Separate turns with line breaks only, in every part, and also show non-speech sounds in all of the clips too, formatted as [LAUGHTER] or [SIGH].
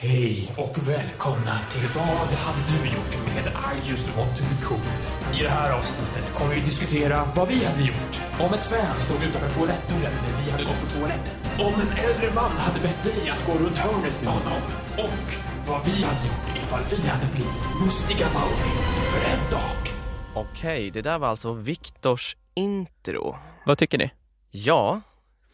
Hej och välkomna till Vad hade du gjort med I just want to be cool? I det här avsnittet kommer vi diskutera vad vi hade gjort. Om ett fan stod utanför toalettdörren när vi hade gått på toaletten. Om en äldre man hade bett dig att gå runt hörnet med honom. Och vad vi hade gjort ifall vi hade blivit mustiga Mauri för en dag.
Okej, det där var alltså Viktors intro.
Vad tycker ni?
Ja,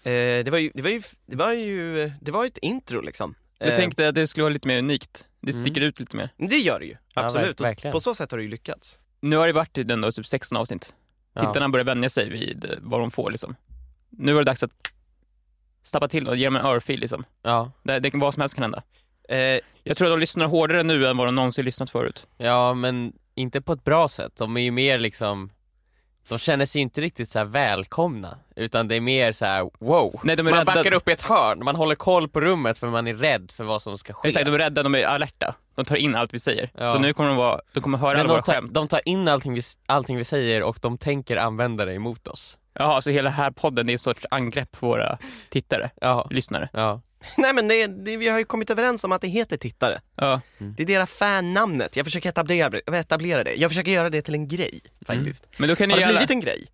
eh, det, var ju, det, var ju, det var ju det var ju ett intro liksom.
Jag
Eh,
tänkte att det skulle vara lite mer unikt. Det
mm.
sticker ut lite mer.
men det gör det ju, absolut.
verk- verkligen.
och på så sätt har det ju lyckats.
Nu har det varit i den då, typ 16 avsnitt. Tittarna börjar vänja sig vid eh, vad de får liksom. Nu är det dags att stappa till och ge dem en örfil liksom.
Ja,
Det, det, kan- vad som helst kan hända.
Eh,
Jag tror att de lyssnar hårdare nu än vad de någonsin lyssnat förut.
ja men inte på ett bra sätt. De är ju mer liksom, de känner sig ju inte riktigt så här välkomna, utan det är mer så här: wow.
Nej, de är
man
rädda.
backar upp i ett hörn, man håller koll på rummet för man är rädd för vad som ska ske.
Exakt, de är rädda, de är alerta. De tar in allt vi säger.
Ja.
Så nu kommer de vara, de kommer höra alla
Men
våra
de, tar,
skämt.
de tar in allting vi, allting vi säger och de tänker använda det emot oss.
Jaha, så hela den här podden är en sorts angrepp på våra tittare,
Ja,
lyssnare.
ja.
nej men det, det, vi har ju kommit överens om att det heter tittare.
Ja.
Det är deras fannamnet. Jag försöker etablera, etablera det. Jag försöker göra det till en grej faktiskt.
Men då kan Mm. ni
Har det
alla...
blivit en grej?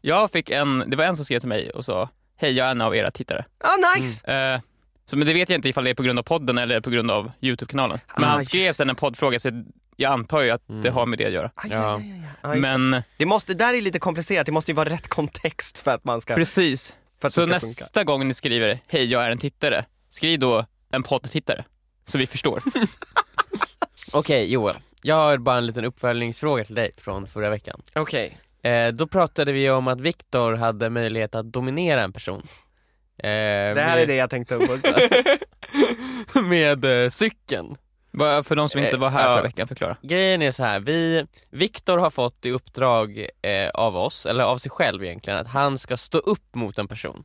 Jag fick en, det var en som skrev till mig och sa, hej jag är en av era tittare.
Ah, nice!
Eh, så, men det vet jag inte ifall det är på grund av podden eller på grund av Youtube-kanalen. Men
Ah,
han
just.
skrev sen en poddfråga så jag antar ju att det har med det att göra.
Aj,
Ja.
aj, aj, aj. Ah, just det.
men
Det måste, det där är lite komplicerat, det måste ju vara rätt kontext för att man ska,
precis,
för att det
så
ska
nästa
funka.
gång ni skriver hej jag är en tittare, skriv då en poddtittare. Så
[LAUGHS]
vi förstår.
Okej Joel, jag har bara en liten uppföljningsfråga till dig från förra veckan.
Okej.
Eh, då pratade vi om att Viktor hade möjlighet att dominera en person. Eh,
Det här är det jag tänkte på.
[LAUGHS]
också.
[LAUGHS] med eh, cykeln.
Bara för de som inte var här
Eh, ja.
förra veckan, förklara.
Grejen är så här, vi, Viktor har fått i uppdrag eh, av oss, eller av sig själv egentligen, att han ska stå upp mot en person.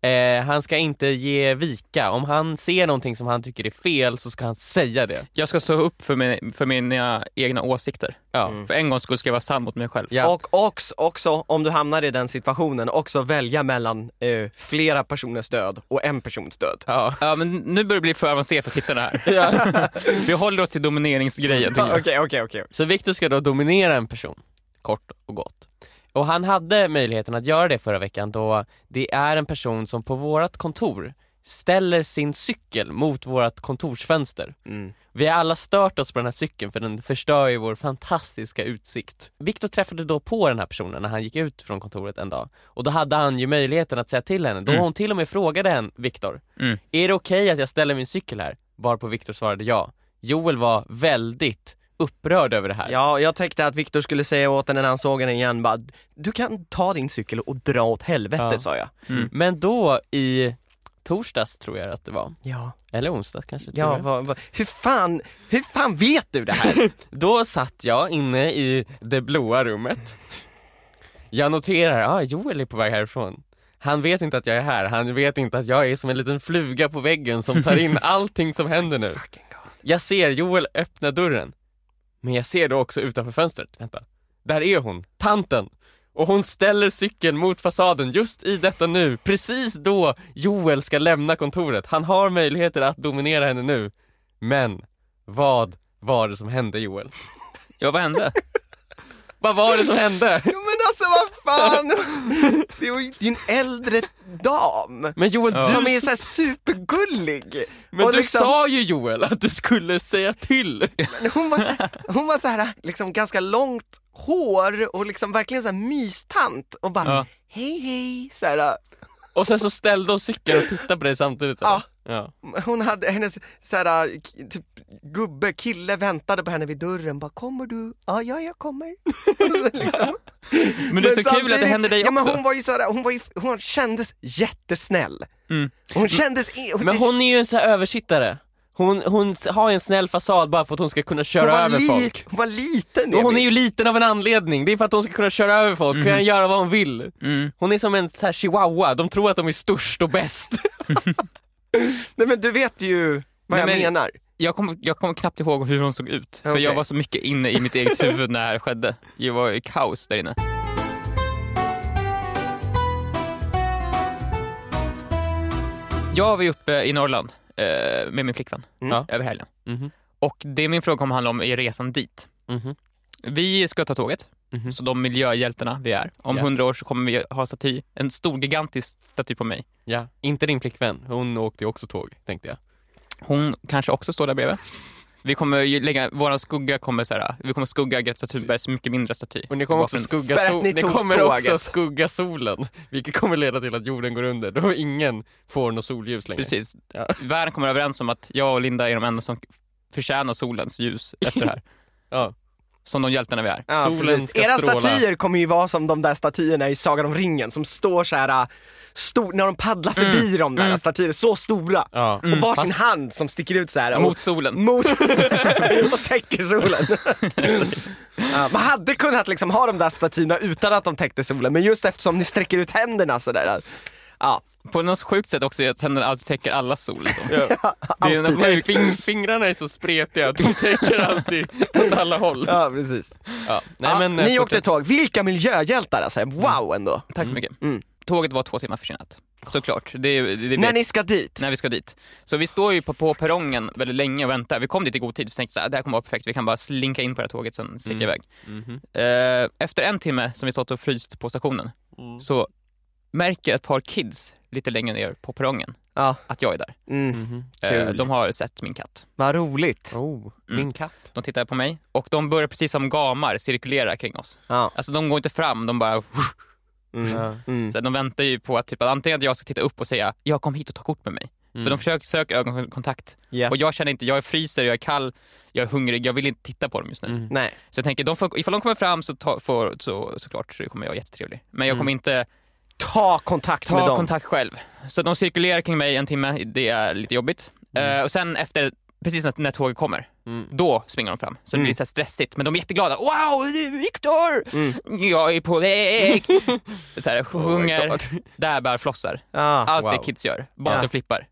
Eh, han ska inte ge vika, om han ser någonting som han tycker är fel så ska han säga det.
Jag ska stå upp för, min, för mina egna åsikter.
Ja.
Mm.
För en gångs skull ska jag vara sann mot mig själv.
Ja.
Och också, också, om du hamnar i den situationen, också välja mellan eh, flera personers död och en persons död.
Ja.
Ja, men nu börjar det bli för avancerat för
[LAUGHS]
tittarna här. [LAUGHS] vi håller oss till domineringsgrejen. tycker jag.
Okej, okej, okej.
Så Viktor ska då dominera en person, kort och gott. Och han hade möjligheten att göra det förra veckan då det är en person som på vårt kontor ställer sin cykel mot vårt kontorsfönster.
Mm.
Vi har alla stört oss på den här cykeln för den förstör ju vår fantastiska utsikt. Viktor träffade då på den här personen när han gick ut från kontoret en dag och då hade han ju möjligheten att säga till henne. Då
Mm.
hon till och med frågade henne, Viktor,
Mm.
är det okej att jag ställer min cykel här? Varpå Viktor svarade ja. Joel var väldigt upprörd över det här.
Ja, jag tänkte att Viktor skulle säga åt henne när han såg henne igen, bara, du kan ta din cykel och dra åt helvete,
Ja.
sa jag.
Men då i torsdags tror jag att det var,
Ja,
eller onsdags kanske till
ja
och med.
vad- vad- hur, fan, hur fan vet du det
[LAUGHS]
här?
Då satt jag inne i det blåa rummet. Jag noterar, ja ah, Joel är på väg härifrån. Han vet inte att jag är här, han vet inte att jag är som en liten fluga på väggen som tar in allting som händer nu. Jag ser Joel öppna dörren. Men jag ser då också utanför fönstret, vänta, där är hon, tanten! Och hon ställer cykeln mot fasaden just i detta nu, precis då Joel ska lämna kontoret. Han har möjligheter att dominera henne nu. Men, vad var det som hände Joel?
Ja, vad hände?
Vad var det som hände?
Jo, men alltså vad fan! [LAUGHS] Det var ju det är ju en äldre dam.
[LAUGHS] Men Joel,
Ja.
Som
du,
är såhär supergullig!
men
och
du
liksom-
sa ju Joel att du skulle
[LAUGHS]
säga till.
Men Hon var, så, hon var så här, liksom ganska långt hår och liksom verkligen så här mystant och bara
Ja.
hej hej. Så här,
Och sen så ställde hon cykeln och tittade på dig samtidigt. eller?
Ja.
ja.
hon hade, hennes så här, k- typ, gubbe, kille väntade på henne vid dörren. Bara, kommer du? Ja, ja, jag kommer. [LAUGHS] Liksom.
Men det är så kul att det hände dig
ja,
också.
Men hon, var ju så här, hon, var ju, hon kändes jättesnäll.
Mm.
Hon kändes... i-
Men hon är ju en sån här översittare. Hon, hon s- har ju en snäll fasad bara för att hon ska kunna
hon
köra
var
över
lik-
folk.
Hon var liten.
Och hon är
Emil.
ju liten av en anledning, det är för att hon ska kunna köra över folk, kunna göra vad hon vill.
Mhm. Mm.
Hon är som en så här chihuahua, de tror att de är störst
[LAUGHS]
och bäst.
Nej, men du vet ju vad
Nej,
jag
men-
menar.
Jag kommer jag kommer knappt ihåg hur hon såg ut, för
Okej.
jag var så mycket inne i mitt eget huvud när det här skedde. Jag var i kaos där inne. Jag var ju uppe i Norrland eh, med min flickvän
Ja.
över helgen.
Mhm.
Och det min fråga kommer handla om är resan dit.
Mhm.
Vi ska ta tåget,
Mhm.
så de miljöhjältarna vi är. Om
Ja.
hundra år så kommer vi ha staty, en stor gigantisk staty på mig.
Ja, inte din flickvän. Hon åkte ju också tåg, tänkte jag.
Hon kanske också står där bredvid. Vi kommer ju lägga, våran skugga kommer så här, vi kommer skugga Greta Thunbergs mycket mindre staty.
Och ni kommer också
Varför-
skugga,
För att
sol-
ni
ni
tog
kommer också
tåget.
skugga solen, vilket kommer leda till att jorden går under då ingen får något solljus längre.
Precis.
Ja.
Världen kommer överens om att jag och Linda är de enda som förtjänar solens ljus efter det här.
Ja.
Som de hjältarna vi är.
Ja,
Solen
precis.
ska
Era
stråla.
statyer kommer ju vara som de där statyerna i Sagan om ringen som står så här äh, stor, när de paddlar förbi de där
mm.
statyerna, så stora.
Ja. Mm,
Och varsin hand som sticker ut så här. och-
Mot solen.
mot [LAUGHS] och täcker
[LAUGHS]
solen. ja, man hade kunnat liksom ha de där statyerna utan att de täckte solen, men just eftersom ni sträcker ut händerna äh. sådär. Ja,
På något sjukt sätt också är att händerna alltid täcker alla sol. Liksom. Det är en
Nej,
sjuk...
fing- fingrarna är så spretiga att de täcker alltid åt alla håll.
ja precis.
Ja. Nej,
ja,
men, eh,
ni
fortsätt. Mm.
åkte tåg, vilka miljöhjältar alltså, wow ändå.
Tack så mycket.
Mm.
Tåget var två timmar försenat. Såklart. Det, är- det, det
När
vet-
ni ska dit,
när vi ska dit. Så vi står ju på, på perrongen väldigt länge och väntar. Vi kom dit i god tid, vi tänkte att det här kommer vara perfekt, vi kan bara slinka in på det här tåget sen sticka
Mm.
iväg.
Mhm.
Eh, efter en timme som vi stått och fryst på stationen
Mm.
så märker ett par kids lite längre ner på perrongen
Ja.
att jag är där.
mm,
Mhm.
Eh,
Kul.
de har sett min katt.
vad roligt.
Oh,
Mm.
min katt.
De tittar på mig och de börjar precis som gamar cirkulera kring oss.
Ja.
Alltså de går inte fram, de bara...
Mm.
Ja.
Mm.
Så de väntar ju på att typ, att antingen att jag ska titta upp och säga jag kom hit och ta kort med mig. För de försöker söka ögonkontakt
Ja.
och jag känner inte, jag är fryser, jag är kall, jag är hungrig, jag vill inte titta på dem just nu.
Mm.
Nej,
Så jag tänker, de får, ifall de kommer fram så, ta, får, så såklart så kommer jag vara jättetrevlig. Men jag kommer inte
ta kontakt med
ta
dem.
kontakt själv. Så de cirkulerar kring mig en timme, det är lite jobbigt.
Mm.
Eh, och sen efter, precis när, när tåget kommer,
Mm.
då springer de fram. Så det
Mm.
blir så här stressigt, men de är jätteglada. Wow, det är Viktor!
Mm. Oh
Jag är på
[LAUGHS]
väg! så här, sjunger,
God.
där bär flossar.
Ja,
Allt det
wow.
kids gör. Bottenflippar,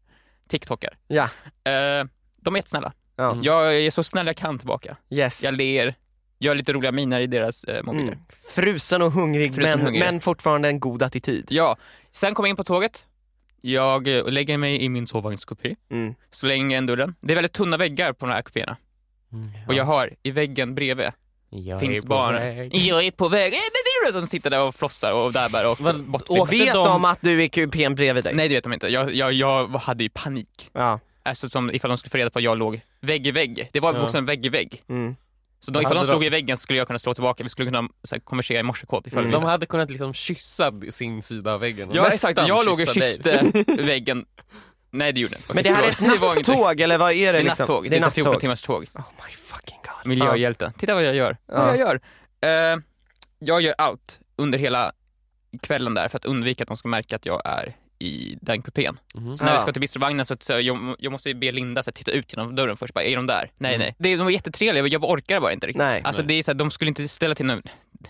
TikTokar.
ja,
Eh, de är jättesnälla.
ja.
Mm.
Jag är så snäll jag kan tillbaka.
yes.
Jag ler, gör lite roliga miner i deras eh, mobiler.
Mm. Frusen och hungrig,
Frusen och
men,
hungrig.
men fortfarande en god attityd.
Ja, sen kommer jag in på tåget. Jag eh, lägger mig i min sovvagnskupé,
Mm.
slänger igen dörren. Det är väldigt tunna väggar på de här kupéerna
Mm.
och jag har i väggen bredvid
Jag är
finns
på
barn.
väg.
Jag är på väg. Eh, det är du! Som sitter där och flossar och därbär och
Vad-
bottflippar.
åkte
Vet
de-
de att du är kupén bredvid dig?
Nej det vet de inte. Jag, jag, jag hade ju panik.
Ja.
Alltså som ifall de skulle få reda på att jag låg vägg i vägg. Det var
Ja.
bokstavligen vägg i vägg.
Mm.
Så de,
Vad
ifall de
hade
slog
de-
i väggen så skulle jag kunna slå tillbaka. Vi skulle kunna så här, konversera i morsekod ifall
Mm.
de
De hade kunnat liksom kyssa sin sida av väggen. och
Ja
nästan
exakt, jag låg och
kyssa dig.
kysste väggen. Nej det gjorde jag inte.
Men det här är
Förlåt.
ett
var ingenting.
nattåg eller vad är
Det
det?
är
liksom?
nattåg, det är, så 14 timmars tåg.
Oh my fucking god.
Miljöhjälte. Titta vad jag gör.
Ja.
Vad jag gör. Eh, jag gör allt under hela kvällen där för att undvika att de ska märka att jag är i den kupén.
Mhm.
Så när vi
Ja.
ska till bistrovagnen så, så jag, jag måste ju be Linda så här, titta ut genom dörren först. Bara, är de där? Nej, nej. Det, de var jättetrevliga, jag orkar bara inte riktigt.
Mm. Nej.
alltså,
Nej.
Det är så här, de skulle inte ställa till något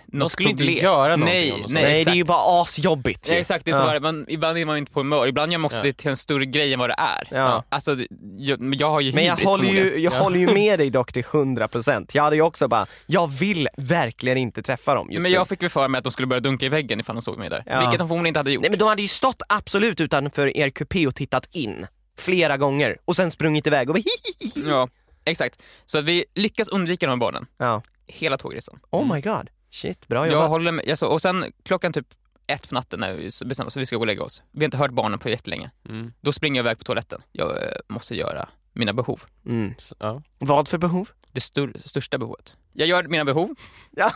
De skulle inte göra någonting om
Nej,
de sa
nej,
Nej,
exakt.
det är ju bara asjobbigt
Ja,
ju.
exakt, det är så
Ja.
här, man, ibland är man inte på humör, ibland gör man också
Ja.
det till en större grej än vad det är.
Ja.
Alltså, jag, men jag har ju
Men jag
hybris
håller,
förmodligen.
ju, jag
Ja.
håller ju
[LAUGHS]
med dig dock till 100%. Jag hade ju också bara, jag vill verkligen inte träffa dem just
Men
nu.
jag fick väl för mig att de skulle börja dunka i väggen ifall de såg mig där.
Ja.
Vilket de förmodligen inte hade gjort.
Nej men de hade ju stått absolut utanför er kupé och tittat in. Flera gånger. Och sen sprungit iväg och bara hihihi.
Ja, exakt. Så att vi lyckas undvika de här barnen
Ja.
hela tågresan.
Oh my god. Shit, bra
Mm. jag
jobbat.
håller med, alltså, och sen klockan typ ett på natten när vi bestämmer oss för att vi ska gå och lägga oss. Vi har inte hört barnen på jättelänge.
Mm.
Då springer jag iväg på toaletten. Jag eh, måste göra mina behov.
Mm.
Så, ja.
Vad för behov?
Det stor, största behovet. Jag gör mina behov.
Ja.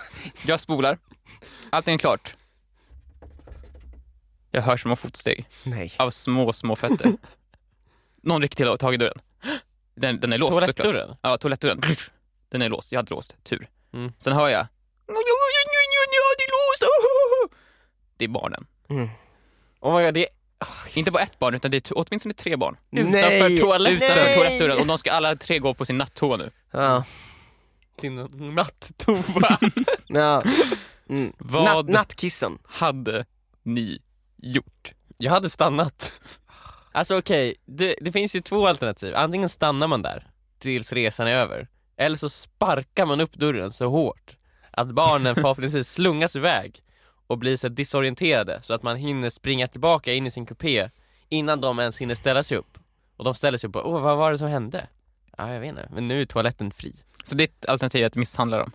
Jag spolar. Allting är klart. Jag hör små fotsteg
Nej.
av små, små fötter. Någon rycker till och tar i dörren. Den, den är låst såklart.
Toalettdörren?
Ja, toalettdörren. Den är låst. Jag hade låst. Tur.
Mm.
Sen hör jag... Det är låst! [LAUGHS] Det är barnen.
Oh my God, det...
Inte bara ett barn, utan det är t- åtminstone tre barn.
Nej.
Utanför toaletten?
Utanför
Nej.
toalettdörren. Och de ska alla tre gå på sin nattoa nu.
Ja.
Sin natttoa.
Ja. Mm.
Vad-
Natt, nattkissen.
Hade ni gjort?
Jag hade stannat. Alltså okej, det, det finns ju två alternativ. Antingen stannar man där tills resan är över, eller så sparkar man upp dörren så hårt att barnen [LAUGHS] förhoppningsvis slungas iväg och blir så här disorienterade så att man hinner springa tillbaka in i sin kupé innan de ens hinner ställa sig upp Och de ställer sig upp och åh vad var det som hände? Ja jag vet inte, men nu är toaletten fri.
Så ditt alternativ är att misshandla dem?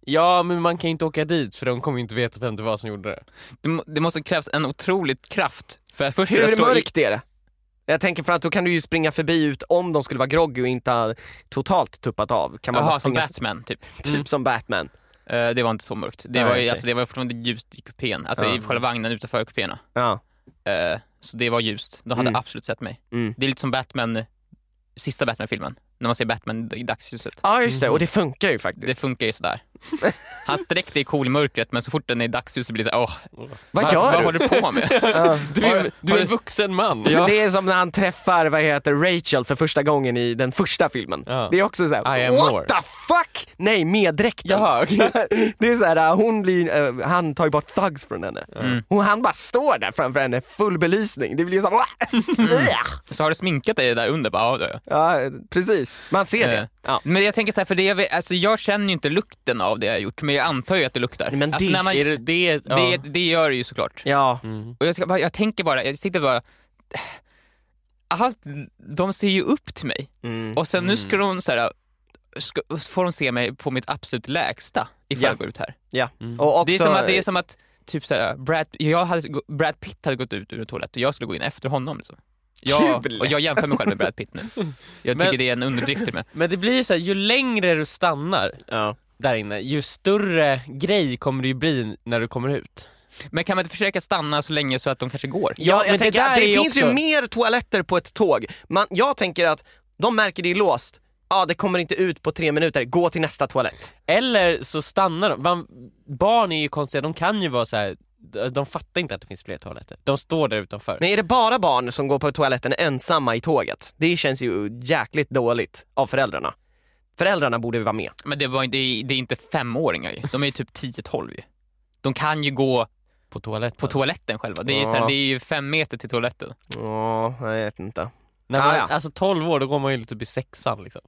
Ja men man kan ju inte åka dit för de kommer ju inte veta vem det var som gjorde det.
Det, må- det måste krävas en otroligt kraft för att först
Hur
slå i-
mörkt är det? Jag tänker för att då kan du ju springa förbi ut om de skulle vara groggy och inte har totalt tuppat av. Kan man
Jaha,
bara
som
springa
Batman typ.
typ som Batman.
Eh, det var inte så mörkt. Det
Nej, Ah,
var, ju,
okej. Ah.
alltså, det var fortfarande ljust i kupén, alltså
Ja.
i själva vagnen utanför kupéerna.
Ja.
Eh, så det var ljust. De hade
Mm.
absolut sett mig.
Mm.
Det är lite som Batman, sista Batman-filmen, när man ser Batman i dagsljuset.
Ja just det, och det funkar ju faktiskt.
Mhm. Det funkar ju sådär. Hans dräkt är cool i mörkret, men så fort den är i dagsljus så blir det såhär, åh,
Vad
vad
gör
håller du
[LAUGHS]
på med?
Ja.
Du
Har
är,
du-
du
har
är en
du-
vuxen man!
Men Det är som när han träffar vad heter Rachel för första gången i den första filmen.
Ja.
Det är också såhär,
I am
what
more."
the fuck? Nej, med dräkten.
Jaha, [LAUGHS] okej.
[LAUGHS] Det är såhär, hon blir, eh, han tar ju bort thugs från henne.
Mm.
Och han bara står där framför henne, full belysning. Det blir ju [LAUGHS] såhär,
Så har du sminkat dig där under? Bara, ja, det har jag.
ja precis, man ser
Eh.
det. Ja.
Men jag tänker så här, för det jag, vet- alltså, jag känner ju inte lukten av det jag har gjort, men jag antar ju att det luktar.
Men
alltså,
det-
när man,
Är det det? Ja.
det, det gör det ju såklart.
Ja,
Och jag, ska bara, jag tänker bara, jag sitter bara... Allt, de ser ju upp till mig.
Mm.
Och sen nu ska de så här, ska, får de se mig på mitt absolut lägsta ifall
Ja.
jag går ut här.
ja. Och också,
det, är som att, det är som att typ så här, Brad, jag hade, Brad Pitt hade gått ut ur en toalett och jag skulle gå in efter honom. Liksom. Jag,
Kul!
och jag jämför mig själv med Brad Pitt nu. Jag tycker
Men-
det är en underdrift till mig.
Men det blir ju så här, ju längre du stannar
Ja.
där inne, ju större grej kommer det ju bli när du kommer ut.
Men kan man inte försöka stanna så länge så att de kanske går?
Ja,
men
jag
det
tänker
där
att det
är ju
finns
också-
ju mer toaletter på ett tåg. Man, jag tänker att de märker det är låst. Ja, det kommer inte ut på tre minuter. Gå till nästa toalett.
Eller så stannar de. Man, barn är ju konstiga, de kan ju vara så här. de- de fattar inte att det finns fler toaletter. De står där utanför.
Men är det bara barn som går på toaletten ensamma i tåget? Det känns ju jäkligt dåligt av föräldrarna. Föräldrarna borde vara med.
Men det, var, det, är, det är inte femåringar ju. De är ju typ 10-12 ju. De kan ju gå
På toaletten.
på toaletten själva. Det är, ju
Ja.
så här, det är ju fem meter till toaletten.
Ja, jag vet inte.
När man,
Ah, ja.
Alltså 12 år, då går man ju typ i sexan liksom.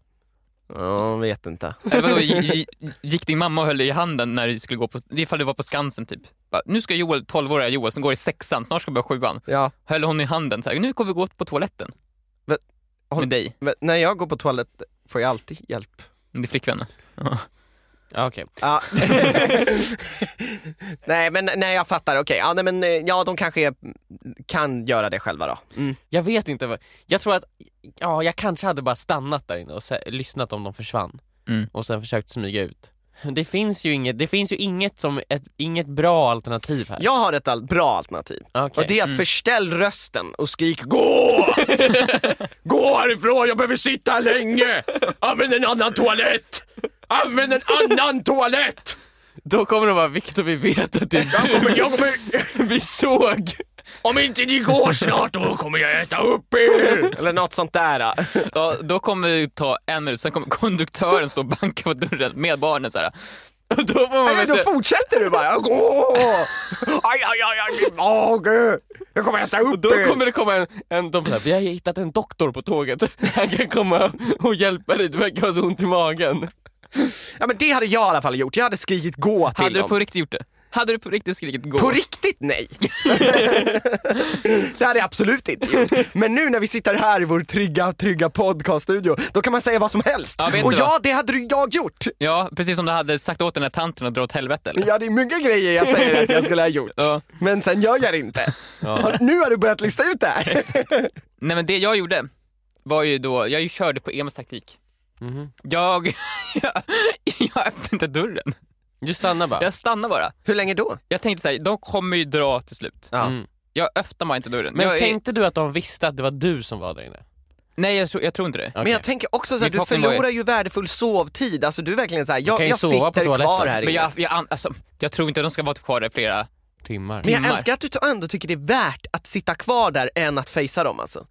Ja, jag vet inte.
Eller Eh, vadå, gi- gi- gick din mamma och höll dig i handen när du skulle gå på, det är ifall du var på Skansen typ. Bara, nu ska Joel, 12-åriga Joel som går i sexan, snart ska börja sjuan.
Ja,
Höll hon i handen så här, nu kommer vi gå på toaletten.
Men, håll-
Med dig,
men när jag går på toalett får jag alltid hjälp.
med din flickvän.
Ja, okej.
Ja. [LAUGHS] nej, men nej, jag fattar. Okej, ja, nej, men eh, ja, de kanske är, kan göra det själva då. Mm.
Jag vet inte vad, jag tror att, ja jag kanske hade bara stannat där inne och se, lyssnat om de försvann
Mm.
och sen försökt smyga ut. Det finns ju inget, det finns ju inget som, ett, inget bra alternativ här.
Jag har ett al- bra alternativ.
Okej.
Och det är att förställ rösten och skrik GÅ! [LAUGHS] Gå härifrån, jag behöver sitta länge! Använd en annan toalett! Använd en annan toalett!
Då kommer de bara, Viktor vi vet att det
Jag kommer, jag kommer,
vi såg.
om inte ni går snart då kommer jag äta upp er!
Eller något sånt där. ja.
Ja, då kommer det ta en minut, sen kommer konduktören stå och banka på dörren med barnen så här.
Och [LAUGHS] då får man
Nej,
väl
då
se,
fortsätter du bara. Gå! Aj, aj, aj, aj, min mage! Jag kommer äta upp
då
er!
Mm.
kommer det komma en, en de bara, vi har hittat en doktor på tåget. [LAUGHS] Han kan komma och hjälpa dig, du verkar ha så ont i magen.
Ja, men det hade jag i alla fall gjort. Jag hade skrikit gå till
Hade du
dem.
på riktigt gjort det? Hade du på riktigt skrikit gå?
På riktigt nej! [LAUGHS] det hade jag absolut inte gjort. Men nu när vi sitter här i vår trygga, trygga podcaststudio, då kan man säga vad som helst.
Ja, vet
och
du
ja,
vad?
det hade du- jag gjort!
Ja, precis som du hade sagt åt den här tanten att dra åt helvete eller?
Ja, det är mycket grejer jag säger att jag skulle ha gjort.
Ja.
Men sen gör jag det inte. Har- Nu har du börjat lista ut det här.
Nej men det jag gjorde var ju då, jag ju körde på Emas taktik.
Mhm.
Jag, [LAUGHS] jag, jag öppnade inte dörren.
Du stannar bara.
Jag stannade bara.
Hur länge då?
Jag tänkte så här, de kommer ju dra till slut.
Ja.
Mm.
Jag öppnar bara inte dörren.
Men
jag, är-
tänkte du att de visste att det var du som var där inne?
nej, jag, tror- jag tror inte det.
Men
Okej.
jag tänker också så här,
Min
du
förhoppning var ju-
förlorar ju värdefull sovtid. Alltså du är verkligen så här, jag,
kan ju
jag
sova på
sitter kvar
toaletten.
här
Men
inne.
jag, jag, an- alltså, jag tror inte de ska vara kvar där flera...
Timmar.
Men jag
timmar.
älskar att du ändå tycker det är värt att sitta kvar där än att fejsa dem alltså.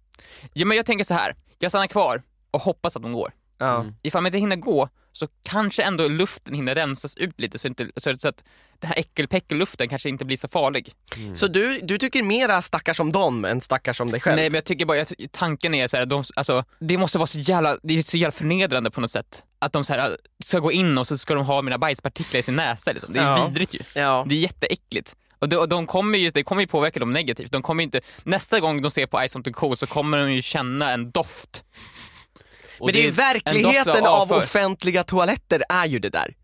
Ja, men jag tänker så här, jag stannar kvar och hoppas att de går.
Ja.
Ifall man inte hinner gå så kanske ändå luften hinner rensas ut lite så, inte, så, så att den här äckelpäckelluften kanske inte blir så farlig.
Så du, du tycker mera stackars om dem än stackars om dig själv?
Nej men jag tycker bara, jag, tanken är så här, de, alltså, det måste vara så jävla, det är så jävla förnedrande på något sätt. Att de så här, äh, ska gå in och så ska de ha mina bajspartiklar i sin näsa liksom. Det är
Ja.
vidrigt ju.
Ja.
Det är jätteäckligt. Och de, och de kommer ju, det kommer ju påverka dem negativt. De kommer ju inte, nästa gång de ser på Ice on the Cool så kommer de ju känna en doft.
Men det är ju
en doft
verkligheten
av
av
avför.
offentliga toaletter är ju det där.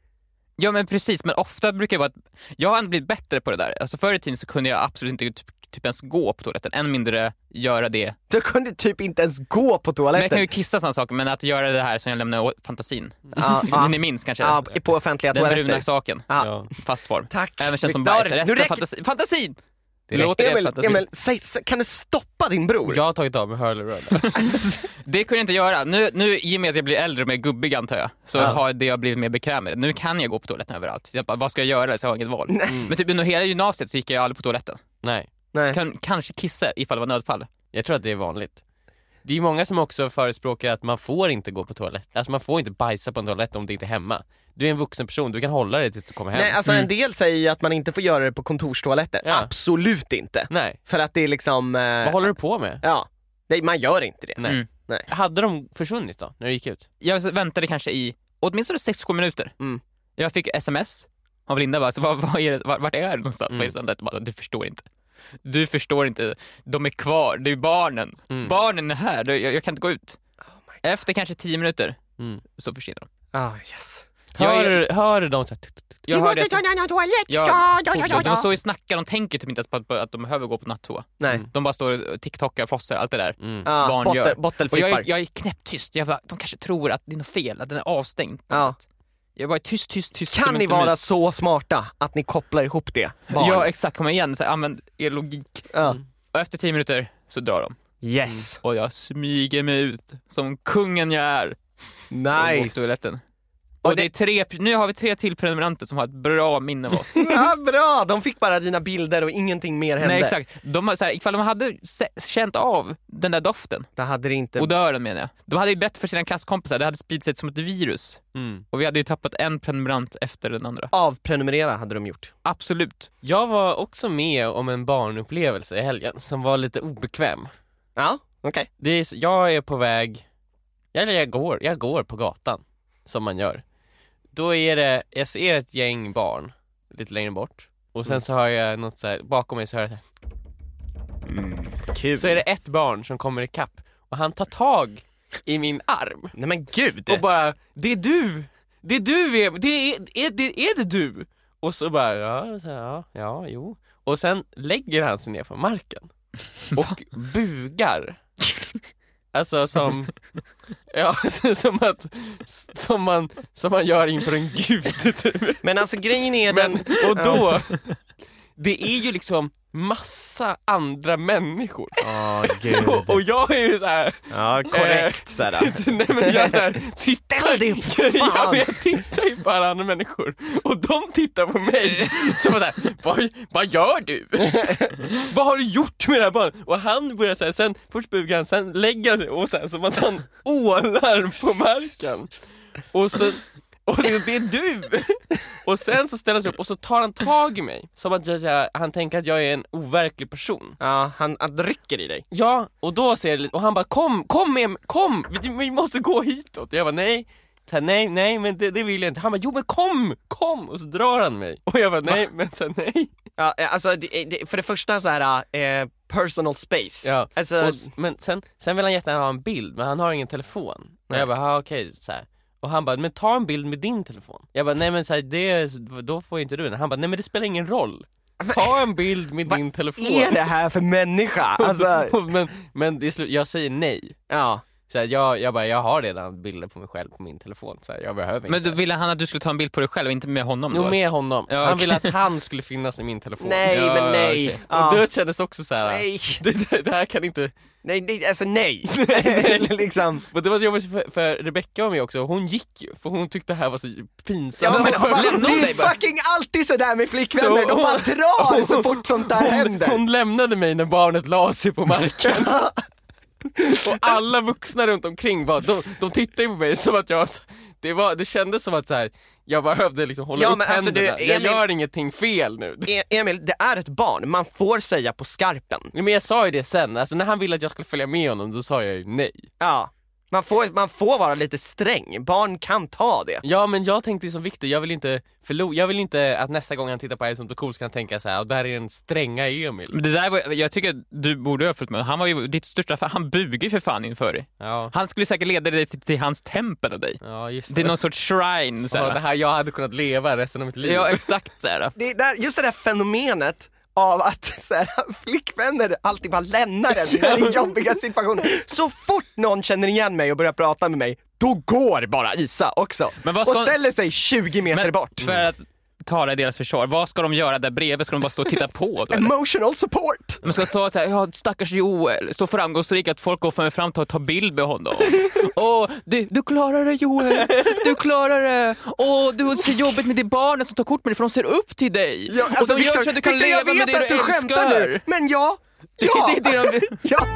Ja men precis, men ofta brukar det vara att jag har blivit bättre på det där. Alltså förr i tiden så kunde jag absolut inte typ, typ ens gå på toaletten, än mindre göra det.
Du kunde typ inte ens gå på
Men jag kan ju
toaletten.
kissa och sådana saker, men att göra det här som jag lämnar åt fantasin.
Ja, ja.
[LAUGHS] Ni minns kanske?
Ja, på offentliga
den bruna
Ah. toaletter.
saken,
Ja.
Ja.
fast form.
Tack.
Även känns som
Viktor,
bajs,
nu
resten
räcker-
fantasi. fantasin! Det
räcker.
låter det
Emil,
fantasi.
Emil säg, säg, kan du stoppa din bror?
Jag har tagit av
[LAUGHS]
mig hörlurarna.
Det kunde jag inte göra. Nu, nu, I och med att jag blir äldre och mer gubbig antar jag, så
Ja.
har det jag blivit mer bekväm med. Nu kan jag gå på toaletten överallt. Jag bara, vad ska jag göra? Så jag har inget val. Men typ under hela gymnasiet så gick jag aldrig på toaletten.
Nej,
Nej.
Kan, kanske kissa ifall det var nödfall.
jag tror att det är vanligt. Det är många som också förespråkar att man får inte gå på toalett. Alltså man får inte bajsa på en toalett om det inte är hemma. Du är en vuxen person, du kan hålla dig tills du kommer hem.
Nej,
Mm.
alltså en del säger ju att man inte får göra det på kontorstoaletter.
Ja.
Absolut inte.
Nej.
För att det är liksom... eh,
Vad håller du på med?
Ja, det, man gör inte det.
Nej.
Mm.
Nej.
Hade de försvunnit då, när du gick ut?
Jag väntade kanske i åtminstone 6-7 minuter.
Mm.
Jag fick sms av Linda bara, så vad, vad är det, var, vart är det någonstans? Vad är det som händer? Jag bara, du förstår inte. Du förstår inte, de är kvar, det är barnen. Barnen är här, Det- jag, jag kan inte gå ut. Efter kanske 10 minuter
Mm.
så försvinner de.
Ah, yes.
Jag
Hör,
är-
hör du dem så här, tut, tut, tut.
Jag hörde det som- Ja, fortsätt. De
ja.
står ju och snackar, de tänker typ inte ens på att, att de behöver gå på nattoa.
Nej.
De bara står och tiktokar, frossar, allt det där.
Mm.
Ah,
Mm. Barn
botte-
gör. Och
Bottelflippar.
jag, är- jag är knäpptyst, jag bara, de kanske tror att det är något fel, att den är avstängd. på
Ja.
något sätt. Jag bara är tyst, tyst, tyst. som
Kan ni
inte
vara
mys.
så smarta att ni kopplar ihop det? Barn.
Ja Mm. exakt, kom igen, så här, använd er logik.
Ja.
Och efter 10 minuter så drar de.
Yes.
Och jag smyger mig ut, som kungen jag är, Mm. mot
Nice.
toaletten. Och det är tre, nu har vi tre till prenumeranter som har ett bra minne av oss.
Ja, bra, de fick bara dina bilder och ingenting mer hände.
Nej exakt, de, har- så här, ifall de hade se- känt av den där doften,
Då hade det inte...
odören menar jag. De hade ju bett för sina klasskompisar, det hade spridit sig som ett virus.
Mm.
Och vi hade ju tappat en prenumerant efter den andra.
Avprenumerera hade de gjort.
Absolut.
Jag var också med om en barnupplevelse i helgen som var lite obekväm.
Ja, okej.
Det är, jag är på väg, eller jag går, jag går på gatan, som man gör. Då är det, jag ser ett gäng barn lite längre bort och sen så hör jag något så här, bakom mig så hör jag så här,
Kul.
så är det ett barn som kommer ikapp och han tar tag i min arm
Nej men gud!
och bara, det är du! Det är du, Em- det är, är, det, är det du? Och så bara, ja, så här, ja, ja, jo. Och sen lägger han sig ner
[LAUGHS]
på marken och bugar.
[LAUGHS]
Alltså som, ja, [LAUGHS] som att, som man, som man gör inför en
[LAUGHS]
gud typ.
Men alltså grejen
[LAUGHS]
är
Men,
den...
och då, det är ju liksom massa andra människor.
Ja, gud.
[LAUGHS] Och, och jag är ju såhär,
Ja, korrekt
Eh.
sådär.
[LAUGHS] nej men jag
[LAUGHS]
är såhär,
Ställ dig upp!
[LAUGHS] Ja,
Fan!
men jag tittar ju på alla andra människor och de tittar
[LAUGHS]
på mig som var såhär, vad, vad gör du? vad har du gjort med det här barnet? Och han börjar säga, sen först bugar han, sen lägger han sig och sen som att
[LAUGHS]
han ålar på marken. Och så, och det, det är du! Och sen så ställer han sig upp och så tar han tag i mig, som att jag, jag, han tänker att jag är en overklig person.
Ja, han, han rycker i dig.
Ja, och då ser jag lite, och han bara kom, kom med mig, kom! Vi, vi måste gå hitåt! Jag bara nej, så här, nej, nej men det, det vill jag inte. Han bara jo men kom, kom! Och så drar han mig. Och jag bara nej, men så här, nej.
Ja, alltså, det, det, för det första så här eh, personal space.
[LAUGHS] Ja,
Alltså,
Och, s- men sen, sen vill han jättegärna ha en bild, men han har ingen telefon. Och
Nej.
jag bara ah, okej, så här. Och han bara, men ta en bild med din telefon. Jag bara, nej men så här, det, då får ju inte du den. Han bara, nej men det spelar ingen [LAUGHS] roll. Ta en bild med din telefon.
vad är det här för människa? Alltså,
[LAUGHS] men men det är slut, jag säger nej.
ja.
Så här, jag, jag bara, jag har redan bilder på mig själv på min telefon, så här, jag behöver
Men
inte.
då ville han att du skulle ta en bild på dig själv, inte med honom
Jo,
då?
med honom.
Ja,
Han
okej.
ville att han skulle finnas i min [LAUGHS] telefon.
Nej,
Ja,
men nej.
okej.
Ja.
Och det kändes också så här.
Nej,
[LAUGHS] Det, det, det här kan [LAUGHS] inte...
nej, nej, alltså nej. [LAUGHS] liksom.
Men det var så jobbigt för, för Rebecca var med också, hon gick ju, för hon tyckte det här var så pinsamt.
men,
Så hon-
det
lämna
är
dig bara.
fucking alltid sådär med flickvänner, de bara drar
[LAUGHS]
så fort sånt där
hon,
händer.
hon lämnade mig när barnet la sig på marken. Och alla vuxna runt omkring var, de, de tittade ju på mig som att jag, det, var, det kändes som att så här, jag behövde liksom hålla
Ja,
upp
men alltså, du,
händerna. jag
Emil-
gör ingenting fel nu.
E- Emil, det är ett barn, man får säga på skarpen.
Nej, Men jag sa ju det sen, alltså när han ville att jag skulle följa med honom då sa jag ju nej.
Ja. Man får, man får vara lite sträng, barn kan ta det.
Ja men jag tänkte ju som Victor, jag vill inte förlora, jag vill inte att nästa gång han tittar på I som cool ska han tänka så här, och där är den stränga Emil.
Men det där var, jag tycker att du borde ha följt med. Han var ju ditt största fan. Han bugade ju för fan inför dig.
Ja,
Han skulle säkert leda dig till, till hans tempel av dig.
ja just det.
Till någon sorts shrine. Så
Ja, det
här.
här jag hade kunnat leva resten av mitt liv.
Ja, exakt så här.
det där, just det där fenomenet av att [LAUGHS] så här, flickvänner alltid bara lämnar en när det är jobbiga situationer. Så fort någon känner igen mig och börjar prata med mig, då går bara Isa också.
Men vad
och
ska-
ställer sig 20 meter
Men
bort.
för att tala i deras försvar, vad ska de göra där bredvid? Ska de bara stå och titta på? Då, eller?
Emotional support!
De ska stå såhär, ja stackars Joel, så framgångsrik att folk kommer fram och tar bild
[LAUGHS]
med honom. Åh, du, du klarar det Joel, du klarar det. Åh, du har så jobbigt med de barnen som tar kort med dig för de ser upp till dig.
Ja, alltså,
och de gör
Victor,
så att du kan
Victor,
leva
jag vet
med det
att
du,
du skämtar
älskar.
nu, men ja! Ja!
[LAUGHS] Det är det de-
[LAUGHS] ja.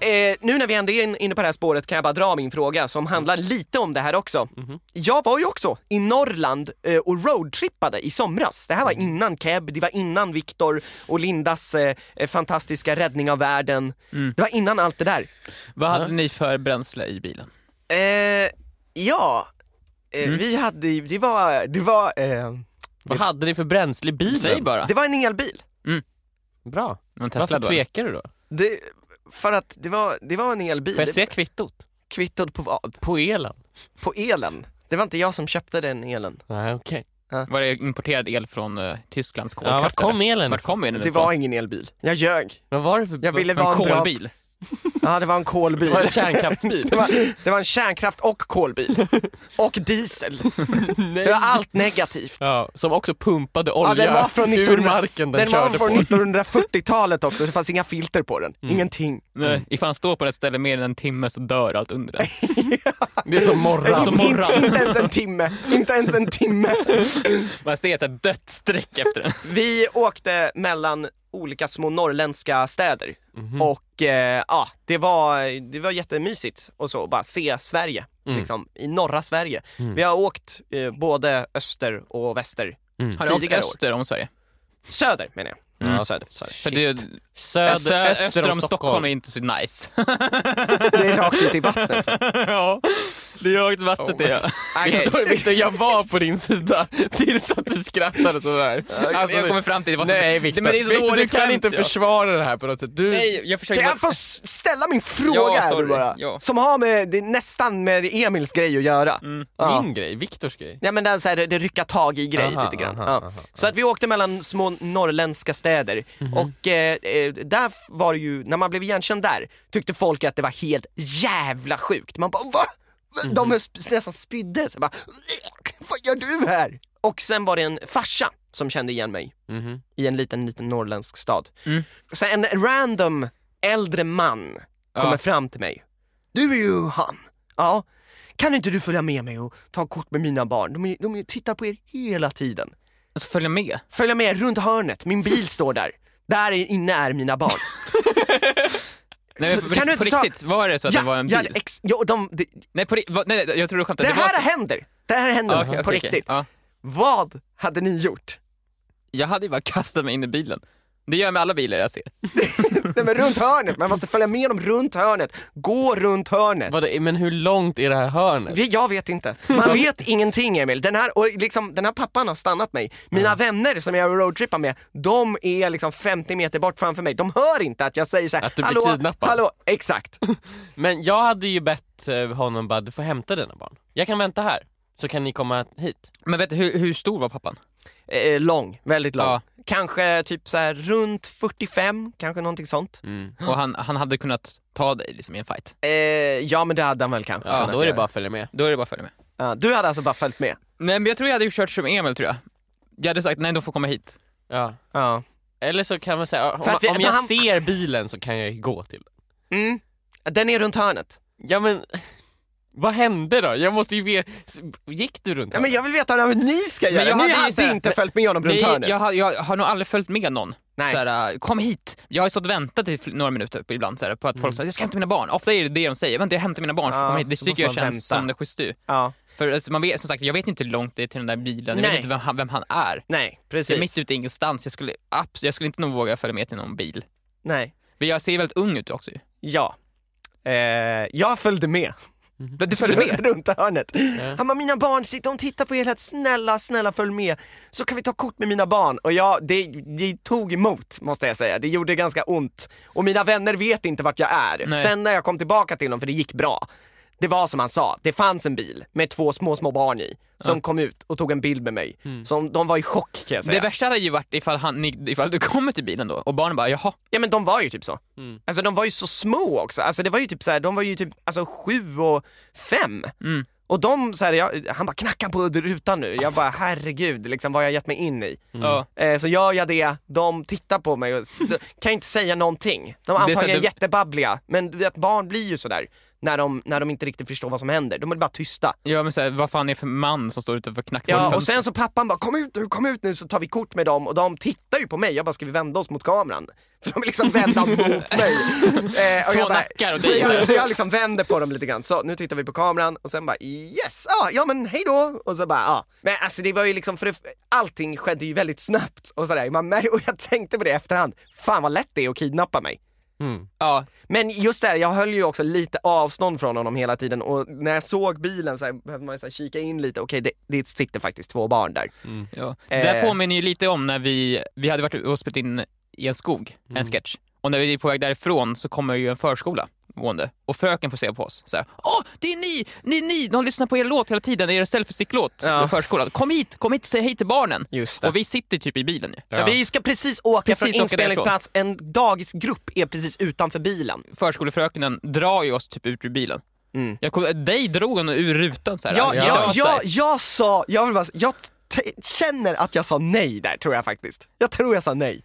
Eh, nu när vi ändå är in- inne på det här spåret kan jag bara dra min fråga som handlar lite om det här också.
Mhm.
Jag var ju också i Norrland eh, och roadtrippade i somras. Det här
Mm.
var innan Keb, det var innan Viktor och Lindas eh, eh, fantastiska räddning av världen.
Mm.
Det var innan allt det där.
Vad hade ni för bränsle i bilen?
Eh, ja, eh,
Mm.
vi hade, det var, det var, eh,
Vad hade ni för bränsle i bilen?
Säg bara.
det var en elbil.
Bra.
Någon Tesla
Varför
då, eller?
tvekar du då?
Det, för att det var, det var en elbil.
Får jag
Det
se kvittot?
kvittot på vad?
På elen?
På elen. Det var inte jag som köpte den elen.
Nej okej.
Var det importerad el från eh, Tysklands
Ja,
kolkraft?
vart kom
eller?
elen
Vart kom elen
Det
ifrån?
var ingen elbil. Jag ljög.
Vad var det för
Jag ville
en
vara en bra...
kolbil.
Ja, det var en kolbil.
Det [LAUGHS] var en kärnkraftsbil?
Det var, det var en kärnkraft och kolbil. Och
[LAUGHS]
diesel. Det var allt negativt.
Ja, som också pumpade
Ja,
olja
den var från
ur
1900
marken den,
Den var
körde
från
på. Mm.
1940-talet också, det fanns inga filter på den. Ingenting.
Nej, Eh, ifall han står på det stället mer än en timme så dör allt
[LAUGHS]
under det.
Det är som Alltså morran.
Som morran.
Inte, inte ens en timme. Inte ens en timme.
Man ser ett så här dött streck efter den.
Vi åkte mellan olika små norrländska städer och eh, ja, det var, det var jättemysigt och så bara se Sverige, liksom, i norra Sverige. Vi har åkt eh, både öster och väster.
Har du åkt
Tidigare år.
öster om Sverige?
Söder menar jag.
Mm.
Söder, söder.
För det,
Söder,
öster, öster om Stockholm är inte så nice. [LAUGHS]
Det är rakt ut i vattnet. [LAUGHS]
ja, det är högt vattnet det är.
Victor, Victor, jag var på din sida tills att du skrattade sådär.
Alltså, jag kommer fram till det. var så-
nej Victor,
men det är så
Victor du
dåligt
kan
skämt,
inte
ja.
försvara det här på något sätt. Du,
Nej, jag försöker
Kan
bara...
jag få s- ställa min fråga
Ja,
här
sorry.
nu bara?
Ja.
Som har med, det är nästan med Emils grej att göra. Ja.
Min grej, Viktors grej.
Ja men den så här, det rycka tag i grej
Aha,
lite grann.
aha,
ja.
aha. Mhm.
så att vi åkte mellan små norrländska städer och eh, eh, där f- var det ju, när man blev igenkänd där, tyckte folk att det var helt jävla sjukt. Man bara va? De
Mhm.
sp- nästan spydde. Så jag bara, Vad gör du här? Och sen var det en farsa som kände igen mig
Mhm.
i en liten, liten norrländsk stad.
Mm.
Så en random äldre man kommer fram till mig. Du är ju han. Ja. Kan inte du följa med mig och ta kort med mina barn? De, är, de är, tittar på er hela tiden.
Alltså, följa med.
Följa med runt hörnet, min bil står där. Där inne är mina
[LAUGHS]
barn.
Nej, men
Kan
på,
du
kan
inte
på
ta-
riktigt, var det så att det var en
ja,
bil?
ex, ja, de, det,
nej, på, ri- va, nej, jag tror du
det
skämtade. var
här
så-
händer. Det här händer
Ja, okej,
på
okej, Ah. okej.
riktigt.
Ja.
Vad hade ni gjort?
Jag hade ju bara kastat mig in i bilen. Det gör jag med alla bilar jag ser.
Nej men runt hörnet, man måste följa med dem runt hörnet. Gå runt hörnet.
Vad det, men hur långt är det här hörnet?
Vi- Jag vet inte. Man vet ingenting Emil. Den här, och liksom, den här pappan har stannat mig. Mina vänner som jag roadtrippar med, de är liksom 50 meter bort framför mig. De hör inte att jag säger så här,
Att du blir
hallå,
kidnappad."
hallå, exakt.
Men jag hade ju bett eh, honom bara, du får hämta dina barn. Jag kan vänta här, så kan ni komma hit.
Men vet du, hur, hur stor var pappan?
Eh, lång, väldigt lång.
Ja.
Kanske typ så här runt 45, kanske någonting sånt.
Och han, han hade kunnat ta dig liksom, i en fight.
Eh, ja men det hade han väl kanske.
Ja,
kunnat
då är det
göra.
bara att följa med.
Då är det bara att följa med.
Ja, du hade alltså bara följt med?
Nej, men jag tror jag hade ju kört som Emil, tror jag. Jag hade sagt nej, de får komma hit.
Ja.
Ja.
Eller så kan man säga, om,
För att vi-
om jag
han-
ser bilen så kan jag gå till den.
Mm. Den är runt hörnet.
Ja men, vad hände då? Jag måste ju veta, gick du runt
Ja, men
hörnet?
jag vill veta vad ni ska
Men
göra.
jag
Ni
hade ju
hade
så här-
inte
men-
följt med honom runt
Nej,
hörnet.
jag, har- jag har nog aldrig följt med någon.
Nej.
Såhär, äh, kom hit! Jag har ju stått och väntat i fl- några minuter typ, ibland såhär, på att folk säger jag ska hämta mina barn. Ofta är det det de säger, vänta jag hämtar mina barn för att
Ja,
komma hit. Det
så
tycker jag
måste man
känns
vänta.
som det schysst du.
Ja.
För alltså, man vet, som sagt, jag vet inte hur långt det är till den där bilen,
Mm.
jag
Nej.
vet inte vem han, vem han är.
Nej,
Det är
precis.
mitt ute i ingenstans, jag skulle, abs- jag skulle inte nog våga följa med till någon bil.
Nej.
Men jag ser ju väldigt ung ut också
Mm.
ju.
Ja. Eh, jag följde med.
Men [LAUGHS] Du följer med?
[LAUGHS] Runt hörnet. Han bara, mina barn sitter och tittar på er här. Snälla, snälla följ med. Så kan vi ta kort med mina barn. Och ja, det, det tog emot måste jag säga. Det gjorde ganska ont. Och mina vänner vet inte vart jag är.
Nej.
Sen när jag kom tillbaka till dem, för det gick bra. Det var som han sa, det fanns en bil med två små, små barn i. Som kom ut och tog en bild med mig.
Mm.
Som, de var i chock kan jag säga.
Det värsta hade ju varit ifall, han, ni- ifall du kommer till bilen då och barnen bara jaha,
Ja men de var ju typ så.
Mm.
Alltså de var ju så små också. Alltså det var ju typ så här, de var ju typ alltså, sju och fem.
Mm.
Och de så här, jag, han bara knacka på rutan nu. Jag bara herregud liksom vad har jag gett mig in i.
ja.
Eh, så gör jag det, de tittar på mig och
[LAUGHS]
s- de kan ju inte säga någonting. De är
Det är så
antagligen
att du-
jättebabbliga men du vet barn blir ju sådär när de, när de inte riktigt förstår vad som händer. De är bara tysta.
ja men så här, vad fan är det för man som står utanför
Ja,
knackdörren?
och sen så pappan bara kom ut nu, kom ut nu så tar vi kort med dem och de tittar ju på mig. Jag bara ska vi vända oss mot kameran? [LAUGHS] För de är liksom
[LAUGHS]
vända mot mig. Eh, och
Två
jag bara-
nackar och
så,
dig så här.
jag, så jag liksom vänder på dem lite grann. Så nu tittar vi på kameran och sen bara yes, ah, ja men hej då. Och så bara ja. Ah. Men alltså det var ju liksom för det, allting skedde ju väldigt snabbt och sådär. Man mär- [LAUGHS] Och jag tänkte på det i efterhand. Fan vad lätt det är att kidnappa mig.
ja.
Men just där, jag höll ju också lite avstånd från honom hela tiden och när jag såg bilen så här, behövde man ju så här kika in lite, okej det, det sitter faktiskt två barn där.
Ja.
Eh.
Det här påminner ju lite om när vi, vi hade varit och spelat in i en skog, en
Mm.
sketch. Och när vi är på väg därifrån så kommer ju en förskola gående och fröken får se på oss. Så här, Åh, det är ni! Det är ni! De lyssnar på er låt hela tiden, er selfie-stick-låt
Ja.
på förskolan. Kom hit, kom hit och säg hej till barnen!
Just
Och vi sitter typ i bilen nu.
Ja. Vi ska precis åka
Precis
från
åka
inspelningsplats, en dagisgrupp är precis utanför bilen.
Förskolefrökenen drar ju oss typ ut ur bilen.
Mm.
Jag kom, dig drog hon ur rutan så här.
Jag,
Ja,
jag, jag,
ja.
jag sa, jag vill bara, jag t- känner att jag sa nej där tror jag faktiskt. Jag tror jag sa nej.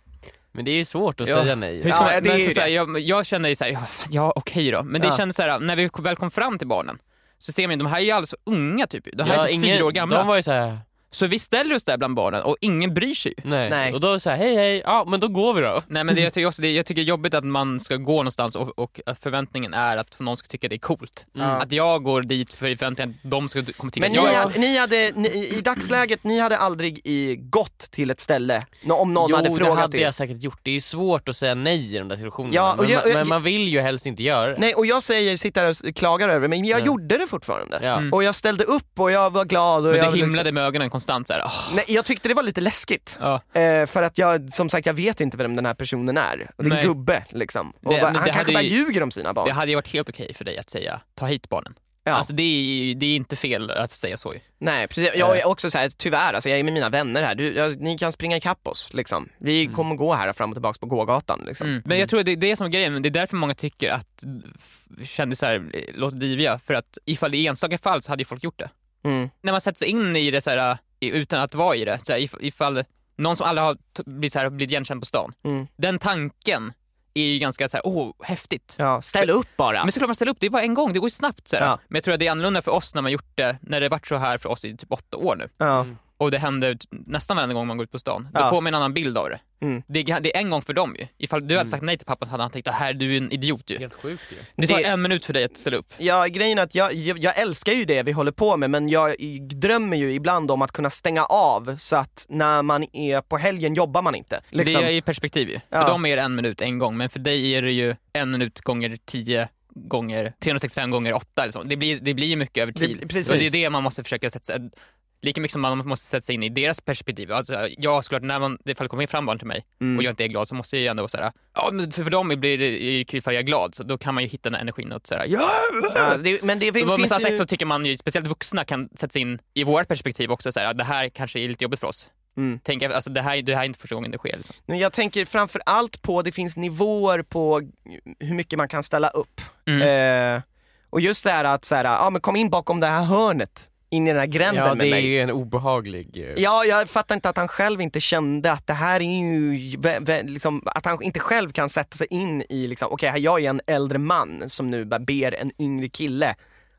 Men det är ju svårt att säga nej.
Hur ska
Ja,
man,
det är
men
ju
så, så här,
det.
jag, jag känner ju såhär, ja, fan, ja okej då. Men det
Ja.
kändes såhär, när vi väl kom fram till barnen så ser man ju, de här är ju alldeles för unga typ. De här
Ja,
är typ
ingen-
fyra år gamla.
De var ju såhär,
Så vi ställer oss där bland barnen och ingen bryr sig ju.
nej.
Nej.
Och då såhär, hej hej, ja men då går vi då.
Nej men det, jag, tycker också, det, jag tycker det är jobbigt att man ska gå någonstans och, och att förväntningen är att någon ska tycka det är coolt. Att jag går dit för förväntningen att de ska, kommer tycka
Mm. Men
att
ni
jag är
hade, ni hade ni, i dagsläget, ni hade aldrig i, gått till ett ställe nå- om någon
jo,
hade
det
frågat
hade
er.
jag säkert gjort. Det är ju svårt att säga nej i de där situationerna.
Ja, och
men,
jag-
man-
jag-
men man vill ju helst inte göra det.
Nej och jag säger, sitter här och s- klagar över det, men jag
Ja.
gjorde det fortfarande.
Ja.
Och jag ställde upp och jag var glad. Och
Men
jag
det
liksom-
himlade med ögonen konstant såhär. Oh,
Nej, jag tyckte det var lite läskigt.
ja.
Eh, för att jag, som sagt, jag vet inte vem den här personen är. Det är
Nej.
en gubbe liksom. Och
Det-
bara,
men
han
det
kanske
hade
bara
ju-
ljuger om sina barn.
Det hade ju varit helt okej för dig att säga ta hit barnen.
Ja.
Alltså det är, ju- det är inte fel att säga så ju.
Nej precis, jag
Eh.
är också så här, tyvärr alltså, jag är med mina vänner här. Du, jag, ni kan springa ikapp oss liksom. Vi kommer gå här fram och tillbaks på gågatan liksom.
Mm. Men jag tror att det det är det som är grejen, men det är därför många tycker att f- kändisar eh, låter diviga. För att ifall det är enstaka fall så hade ju folk gjort det.
Mm.
när man sätter sig in i det så här, i- utan att vara i det, så här, if- ifall någon som aldrig har t- blivit, så här, blivit igenkänd på stan,
Mm.
den tanken är ju ganska så här, åh, häftigt.
Ja, ställ upp bara.
Men såklart man ställer upp, det är bara en gång, det går ju snabbt. Så här.
Ja.
Men jag tror att det är annorlunda för oss när man gjort det, när det varit så här för oss i typ åtta år nu.
Ja.
Och det händer t- nästan varenda gång man går ut på stan. Då
Ja.
får man en annan bild av det.
Mm.
Det, är- det är en gång för dem ju. Ifall du hade sagt nej till pappa så hade han tänkt, "Det här du är en idiot ju.
Helt sjukt ju.
Det tar
Det-
en minut för dig att ställa upp.
Ja, grejen är att jag, jag, jag älskar ju det vi håller på med men jag i- drömmer ju ibland om att kunna stänga av så att när man är på helgen jobbar man inte. Liksom.
Det är i perspektiv ju.
Ja.
För dem är det en minut en gång, men för dig är det ju en minut gånger tio gånger 365 gånger åtta. Liksom. Det blir ju det blir mycket över tid.
Det- precis.
Och det är det man måste försöka sätta sig Lika mycket som man måste sätta sig in i deras perspektiv. Alltså, jag såklart, när man, ifall det kommer fram barn till mig
Mm.
och jag inte är glad så måste jag ju ändå vara såhär, ja, men för, för dem blir det ju kul ifall jag är glad, så då kan man ju hitta den här energin och såhär, ja!
Ja, det, men det
Men alltså, med
finns
samma
ju...
sagt så tycker man ju, speciellt vuxna kan sätta sig in i vårt perspektiv också, såhär, att det här kanske är lite jobbigt för oss.
Mm.
Tänk, alltså, det, här, det här är inte första gången det sker. Liksom.
Men Jag tänker framför allt på, det finns nivåer på hur mycket man kan ställa upp.
Mm.
Eh, och just det här att, så här, ja men kom in bakom det här hörnet, in i den här gränden
Ja,
med
det är
mig.
ju en obehaglig... eh,
Ja, jag fattar inte att han själv inte kände att det här är ju, vä- vä- liksom, att han inte själv kan sätta sig in i liksom, okej, här jag är en äldre man som nu bara ber en yngre kille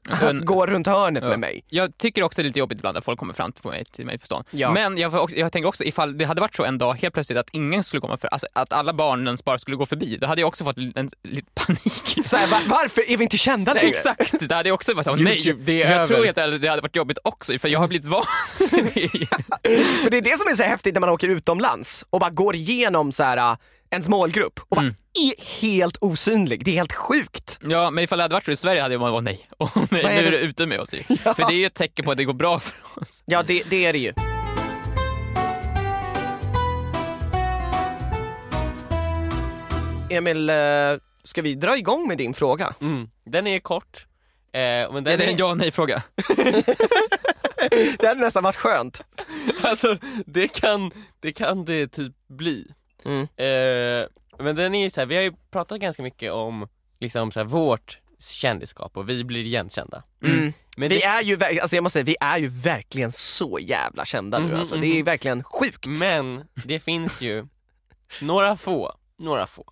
Alltså,
att gå runt hörnet
Ja.
med mig.
Jag tycker också det är lite jobbigt ibland att folk kommer fram till mig, till mig på stan.
Ja.
Men jag, var också, jag tänker också ifall det hade varit så en dag helt plötsligt att ingen skulle komma för, alltså, att alla barnens bara skulle gå förbi, då hade jag också fått en, en, lite
[LAUGHS]
panik.
Så här, va- varför är vi inte kända längre?
[LAUGHS] Exakt, det hade jag också varit såhär, nej.
YouTube, det är
jag
över.
tror helt ärligt att det hade varit jobbigt också, för jag har blivit van vid det.
Och det är det som är så häftigt när man åker utomlands och bara går igenom så här, äh, ens målgrupp och bara är helt osynlig. Det är helt sjukt.
Ja, men ifall det hade varit så i Sverige hade man varit nej. Och nej,
Vad är
nu
det?
är det ute med oss ju. För det är ju ett tecken på att det går bra för oss.
Ja, det, det är det ju. Emil, eh, ska vi dra igång med din fråga?
Mm. Den är kort. Eh, men den
Är det en ja nej fråga?
Det hade nästan varit skönt.
[LAUGHS] Alltså, det kan, det kan det typ bli.
Mm.
Eh, men den är ju så här, vi har ju pratat ganska mycket om liksom så här, vårt kändisskap och vi blir igenkända.
Mm. Vi
Men det,
är ju, verk- alltså jag måste säga, vi är ju verkligen så jävla kända nu
Mhm,
alltså. Det är verkligen sjukt.
men det finns ju några få, några få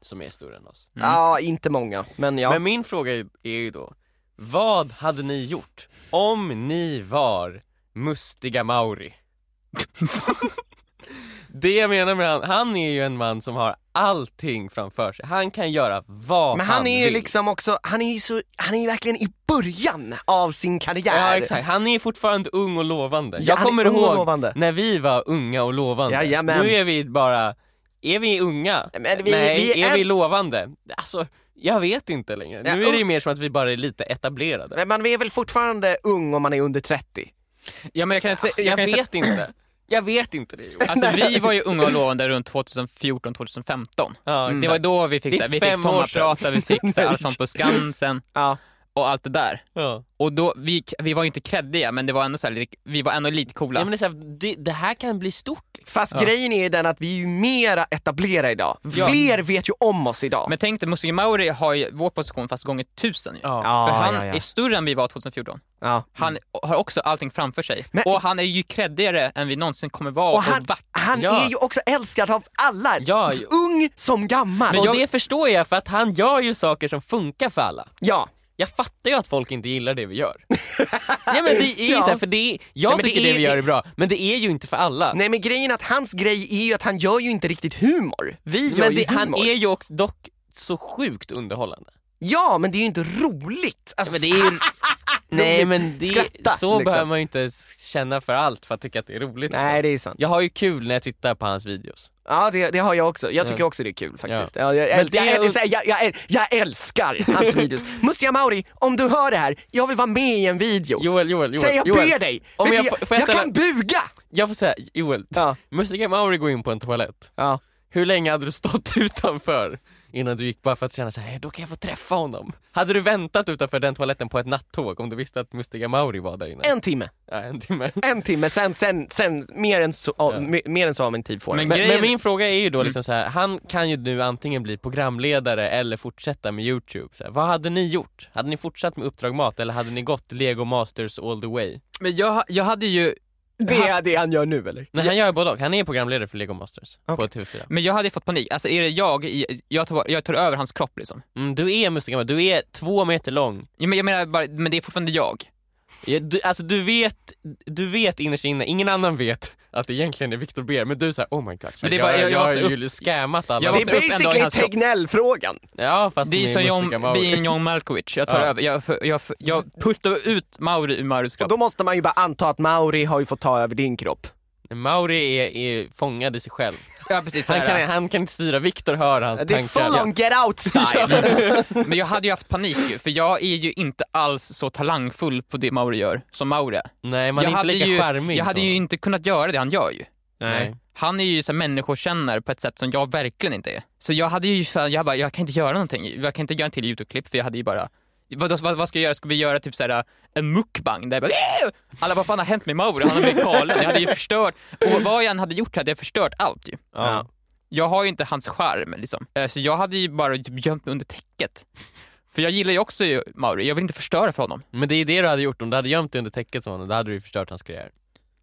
som är större än oss.
Mm.
Ja, inte många, men ja.
Men min fråga är är ju då, vad hade ni gjort om ni var
[LAUGHS]
mustiga Mauri? Det jag menar med han, han är ju en man som har allting framför sig. Han kan göra vad
Men han är ju
vill.
liksom också, han är ju så, han är ju verkligen i början av sin karriär.
Ja exakt, han är fortfarande ung och lovande.
Ja,
jag
han är
kommer
ung och
ihåg
lovande.
när vi var unga och lovande.
Jajamän.
Nu är vi bara, är vi unga?
Men vi-
Nej,
vi
är
är-
vi lovande? Alltså, jag vet inte längre.
Ja,
nu är det ju
och-
mer som att vi bara är lite etablerade.
Men man är väl fortfarande ung om man är under 30?
Ja, men jag kan inte säga,
jag
jag kan ju säga,
vet inte. Jag vet inte det Johan.
alltså vi var ju unga och lovande runt 2014, 2015.
Ja,
Det var då vi fick,
Det är
så här, vi
fem
fick
år
sommarprata, vi fick så här,
Nej.
Allsång på Skansen
Ja.
och allt det där.
ja.
Och då, vi, vi var ju inte kreddiga men det var ändå så här, lite- vi var ändå lite coola.
ja men det, är så här, det, det här kan bli stort.
Fast grejen är ju den att vi är ju mera etablerade idag.
Ja.
Fler vet ju om oss idag.
Men tänk dig, Musse Mauri har ju vår position fast gånger tusen ju.
Ja.
ja,
För han
ja, ja.
är större än vi var 2014.
ja.
Han har också allting framför sig.
Men-
Och han är ju creddigare än vi någonsin kommer vara och,
Och han,
vart.
han
Ja.
är ju också älskad av alla,
Ja, ja.
ung som gammal.
Men och
Och det-
det förstår jag för att han gör ju saker som funkar för alla.
ja.
Jag fattar ju att folk inte gillar det vi [LAUGHS] gör. Nej men det är ju
Ja.
så här, för det är, jag
Nej, men
tycker
det
det,
är-
vi gör är bra, men det är ju inte för alla.
Nej men grejen är att hans grej är ju att han gör ju inte riktigt humor. Vi gör
men
ju
det, han
humor.
är ju också dock så sjukt underhållande.
Ja men det är ju inte roligt. Alltså,
men det är [LAUGHS] ju- Nej men det,
Skratta,
så
liksom.
behöver man ju inte känna för allt för att tycka att det är roligt.
Nej
liksom.
det är sant.
Jag har ju kul när jag tittar på hans videos.
Ja det, det har jag också. Jag tycker
Ja.
också det är kul faktiskt. Ja. jag,
Men
jag,
det
jag,
är-
jag, jag, jag, jag älskar hans videos. Mustiga Mauri, om du hör det här, jag vill vara med i en video.
Joel, Joel, Joel.
Säg jag
Joel.
ber dig!
Om
Vet
jag,
du,
får- får jag, ställa,
kan buga!
jag får säga, Joel,
Ja.
Mustiga Mauri går in på en toalett.
Ja.
Hur länge hade du stått [LAUGHS] utanför innan du gick bara för att känna så här, då kan jag få träffa honom? Hade du väntat utanför den toaletten på ett nattåg om du visste att Mustiga Mauri var där inne?
En timme,
Ja, en timme.
en timme, sen, sen, sen mer, än så, ja. mer, mer än så av en tid får
Men
jag.
Men,
Grejen-
men min fråga är ju
Mm.
då liksom så här, han kan ju nu antingen bli programledare eller fortsätta med Youtube. Så här, vad hade ni gjort? Hade ni fortsatt med Uppdrag Mat eller hade ni gått Lego Masters all the way?
Men jag, jag hade ju
Det är det han gör nu eller?
Nej han gör ju både och, han är programledare för Lego Masters på TV4.
men jag hade fått panik. Alltså är det jag, i- jag tar, jag tar över hans kropp liksom.
Mm, du är Mustiga Mauri, du är två meter lång.
Ja, men Jag menar bara, men det är fortfarande jag.
Ja, Du, alltså du vet, du vet innerst inne, ingen annan vet att det egentligen är Victor Ber men du säger oh my god,
Men det är
jag,
bara-
jag,
jag- jag
har
vaknar
ju scammat alla.
Jag
Det
vaknar
är
upp en dag
basically
i hans kropp.
Tegnell-frågan.
Ja fast
Det är
ni
som
Mustiga
John,
Mauri.
det är en John Malkovich. Jag tar
Ja.
över, jag, jag, jag, jag puttar ut Mauri ur Mauris
Och
kropp.
då måste man ju bara anta att Mauri har ju fått ta över din kropp.
Mauri är, är fångad i sig själv.
Ja, precis, så
Han
här.
kan, han kan inte styra, Viktor hör hans
Det är
tankar.
full on get out style.
Men jag hade ju haft panik ju, för jag är ju inte alls så talangfull på det Mauri gör som Mauri är.
Nej, man
jag
är inte
hade
lika
ju,
charmig.
Jag hade
så.
ju inte kunnat göra det han gör ju.
Nej.
Han är ju så här människokännare på ett sätt som jag verkligen inte är. Så jag hade ju fan, jag bara, jag kan inte göra någonting. Jag kan inte göra en till Youtube-klipp för jag hade ju bara vad, vad, vad ska jag göra? Ska vi göra typ såhär en mukbang? Där jag bara, "Ew!" Alla vad fan har hänt med Mauri? Han har blivit galen. Jag hade ju förstört, och vad jag än hade gjort hade jag förstört allt ju.
Ja.
Jag har ju inte hans charm liksom. Eh, Så jag hade ju bara gömt mig under täcket. För jag gillar ju också ju Mauri, jag vill inte förstöra för honom.
Men det är det du hade gjort, om du hade gömt dig under täcket som honom, då hade du ju förstört hans karriär.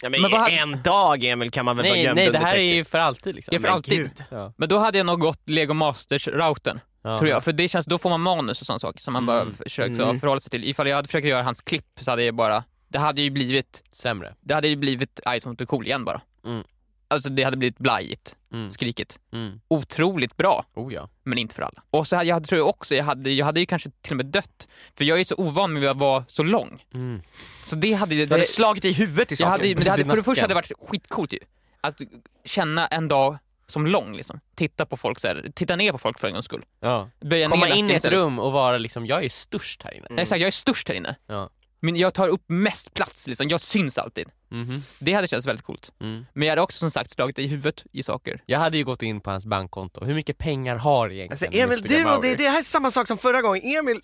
Men vad-
en dag Emil kan man väl vara
Nej,
gömd
nej det
under
här är
täcket.
ju för alltid liksom.
Jag för
Men
alltid.
gud. Ja.
Men då hade jag nog gått Lego Masters-routen.
Ja.
Tror jag, för det känns, då får man manus och sådana saker som man bara försöker
Mm.
förhålla sig till. Ifall jag hade försökt göra hans klipp så hade jag bara, det hade ju blivit,
Sämre.
det hade ju blivit Ice Mountain Cool igen bara.
Mm.
Alltså det hade blivit blajigt,
Mm.
skrikigt.
Mm.
Otroligt bra,
Oh ja.
men inte för alla. Och så hade, jag tror jag också, jag hade, jag hade ju kanske till och med dött, för jag är så ovan med att vara så lång.
Mm.
Så det hade ju...
Du hade slagit i huvudet i
Jag
saker.
hade, men det hade,
i
för det första hade
nacken.
det varit skitcoolt ju. Att känna en dag som lång liksom. Titta på folk så här, titta ner på folk för en gångs skull.
ja.
Böja
Komma
ner
in i ett
istället.
rum och vara liksom, jag är störst här inne.
Exakt, jag är störst här inne.
Ja.
Men jag tar upp mest plats liksom, jag syns alltid.
Mhm.
Det hade känts väldigt coolt.
Mm.
Men jag hade också som sagt slagit i huvudet i saker.
Jag hade ju gått in på hans bankkonto. Hur mycket pengar har egentligen
Alltså Emil,
Mr.
du och
Mauri?
det, det här är samma sak som förra gången. Emil,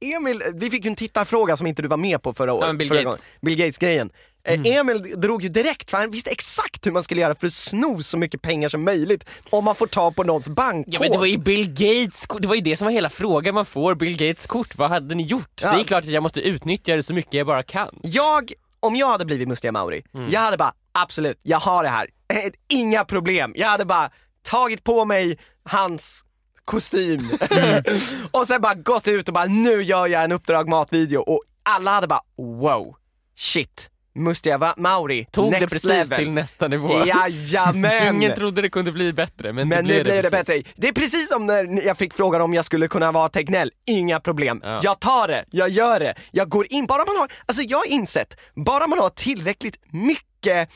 Emil, vi fick ju en tittarfråga som inte du var med på förra året.
men Bill
förra
Gates.
gången. Bill Gates-grejen. Eh, Emil drog ju direkt, för han visste exakt hur man skulle göra för att sno så mycket pengar som möjligt om man får ta på någons bankkod.
Ja men det var ju Bill Gates kort, det var ju det som var hela frågan, man får Bill Gates kort, vad hade ni gjort?
Ja.
Det är klart att jag måste utnyttja det så mycket jag bara kan.
Jag, om jag hade blivit Mustiga Mauri,
Mm.
jag hade bara absolut, jag har det här. [LAUGHS] Inga problem. Jag hade bara tagit på mig hans kostym
Mm.
[LAUGHS] och sen bara gått ut och bara nu gör jag en Uppdrag Mat-video och alla hade bara wow, shit, Mustiga Va- Mauri,
Tog
next
det precis
level.
till nästa nivå.
Jajamän!
[LAUGHS] Ingen trodde det kunde bli bättre men,
Men
det blev
nu blir det
precis.
bättre. Det är precis som när jag fick frågan om jag skulle kunna vara Tegnell. Inga problem.
Ja.
Jag tar det, jag gör det, jag går in. Bara man har, alltså jag har insett, bara man har tillräckligt mycket, eh,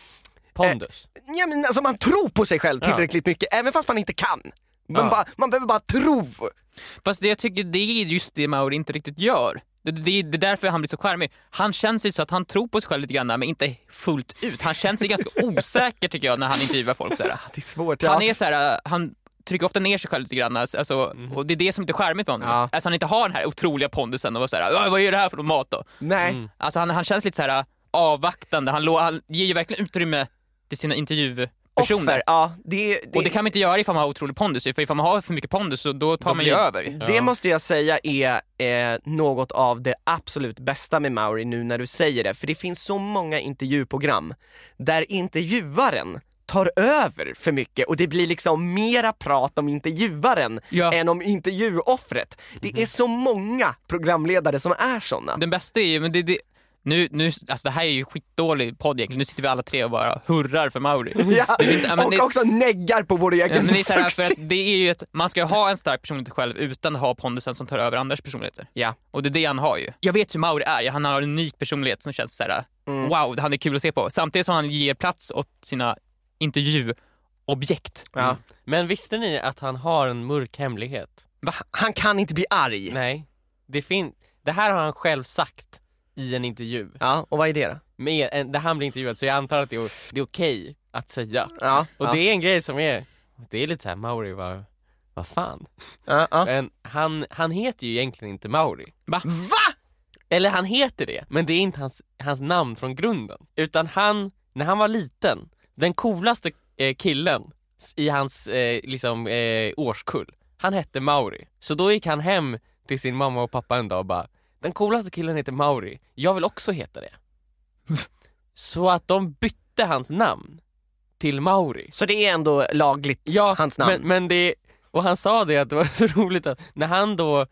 Pondus.
ja, men alltså man tror på sig själv tillräckligt mycket, även fast man inte kan. Man,
Ja.
bara, man behöver bara tro.
Fast det jag tycker det är just det Mauri inte riktigt gör. Det, det, det är därför han blir så charmig. Han känns ju så att han tror på sig själv lite grann men inte fullt ut. Han känns ju ganska osäker tycker jag när han intervjuar folk så här.
Det är svårt.
Han är så här, äh, han trycker ofta ner sig själv lite grann alltså, alltså, och det är det som inte är charmigt med honom.
Ja.
Alltså han inte har den här otroliga pondusen och så här, "Åh, vad är det här för mat då?
Nej.
Alltså han, han känns lite så här äh, avvaktande, han, lå- han ger ju verkligen utrymme till sina intervjupersoner.
Offer, ja. Det, det,
Och det kan man inte göra ifall man har otrolig pondus, för ifall man har för mycket pondus så då tar man ju
blir-
över.
Det måste jag säga är eh, något av det absolut bästa med Mauri nu när du säger det, för det finns så många intervjuprogram där intervjuaren tar över för mycket och det blir liksom mera prat om intervjuaren
Ja.
än om intervjuoffret. Det är så många programledare som är såna. [LAUGHS]
Den bästa är ju, men det, det, nu, nu, alltså det här är ju skitdålig podd egentligen, nu sitter vi alla tre och bara hurrar för Mauri.
Ja,
Det finns- ja, men
och
det-
också neggar på vår
Ja,
egen
men det är så här, för
succé.
att det är ju ett, man ska ju ha en stark personlighet själv utan att ha pondusen som tar över andras personligheter.
Ja.
Och det är det han har ju. Jag vet hur Mauri är, han har en unik personlighet som känns så här: wow, han är kul att se på. Samtidigt som han ger plats åt sina intervjuobjekt. Mm.
Ja.
Men visste ni att han har en mörk hemlighet?
Va? Han kan inte bli arg.
Nej. Det, fin- det här har han själv sagt i en intervju.
Ja, och vad är det då?
Med en, där han blir intervjuad så jag antar att det är, det är okej att säga.
Ja,
Och
ja.
det är en grej som är, det är lite såhär Mauri, vad, vad fan?
Ja, ja.
Men han, han heter ju egentligen inte Mauri.
Va?
Va?
Eller han heter det, men det är inte hans, hans namn från grunden. Utan han, när han var liten, den coolaste eh, killen s- i hans eh, liksom, eh, årskull, han hette Mauri. Så då gick han hem till sin mamma och pappa en dag och bara, den coolaste killen heter Mauri, jag vill också heta det. Så att de bytte hans namn till Mauri.
Så det är ändå lagligt,
Ja,
hans namn?
Men, men det, och han sa det att det var [LAUGHS] så roligt att när han då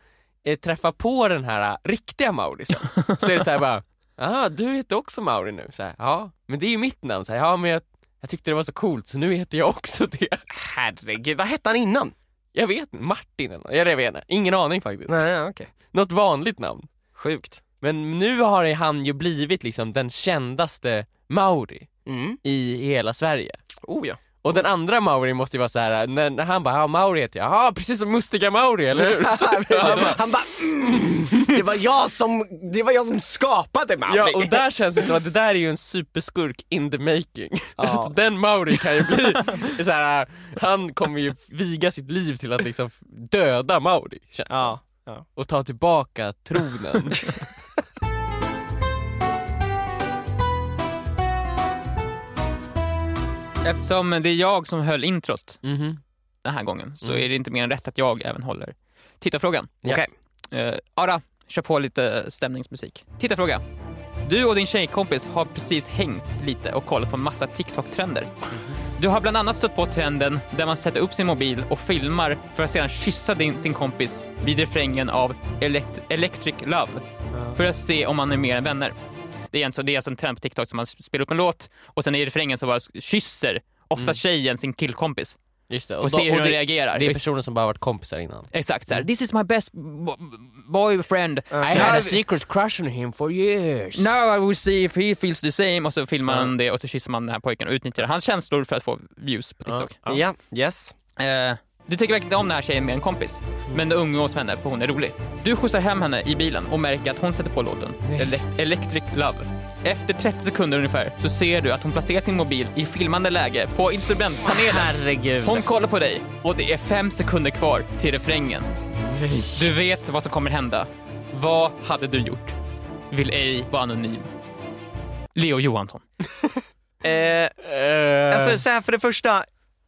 eh, träffar på den här eh, riktiga Maurisen så är det så här bara, [LAUGHS] ah, du heter också Mauri nu. Så här, ja, men det är ju mitt namn. Så här, ja, men jag, jag tyckte det var så coolt så nu heter jag också det. [LAUGHS]
Herregud, vad hette han innan?
Jag vet inte, Martin eller nåt. Jag vet inte, ingen aning faktiskt.
Nej, okej.
Något vanligt namn.
Sjukt.
Men nu har han ju blivit liksom den kändaste Mauri
Mm.
i hela Sverige.
Oh ja.
Och den andra Mauri måste ju vara så här när, när han bara ja, Mauri heter jag, ja precis som Mustiga Mauri eller [LAUGHS] hur? Så,
[LAUGHS] han bara, han bara mm, det, var jag som, det var jag som skapade Mauri.
ja och där känns det som att det där är ju en superskurk in the making. [LAUGHS] Alltså, den Mauri kan ju bli [LAUGHS] så här, han kommer ju viga sitt liv till att liksom döda Mauri känns det
Ja,
som.
ja.
Och ta tillbaka [LAUGHS] tronen.
Eftersom det är jag som höll introt
Mm-hmm.
den här gången så är det inte mer än rätt att jag även håller tittarfrågan.
Ja.
Okej. Eh, Ara, kör på lite stämningsmusik. Tittarfråga. Du och din tjejkompis har precis hängt lite och kollat på en massa TikTok-trender. Du har bland annat stött på trenden där man sätter upp sin mobil och filmar för att sedan kyssa din, sin kompis vid refrängen av elekt, Electric Love för att se om man är mer än vänner. Det är, alltså, det är alltså en trend på TikTok som man spelar upp en låt och sen i refrängen så bara kysser ofta tjejen sin killkompis.
Just det.
Får
då-
se hur hon
det,
reagerar.
det är personer som bara varit kompisar innan.
Exakt såhär, this is my best bo- boyfriend. I
I had
have
a secret crush on him for years.
Now I will see if he feels the same och så filmar man det och så kysser man den här pojken och utnyttjar hans känslor för att få views på TikTok.
Ja, yeah, yes.
Eh, du tycker verkligen inte om den här tjejen med en kompis, men du umgås med henne för hon är rolig. Du skjutsar hem henne i bilen och märker att hon sätter på låten Ele- Electric Love. Efter 30 sekunder ungefär så ser du att hon placerar sin mobil i filmande läge på instrumentpanelen.
Herregud.
Hon kollar på dig och det är fem sekunder kvar till refrängen. Du vet vad som kommer hända. Vad hade du gjort? Vill ej vara anonym. Leo Johansson.
Eh, alltså så här för det första,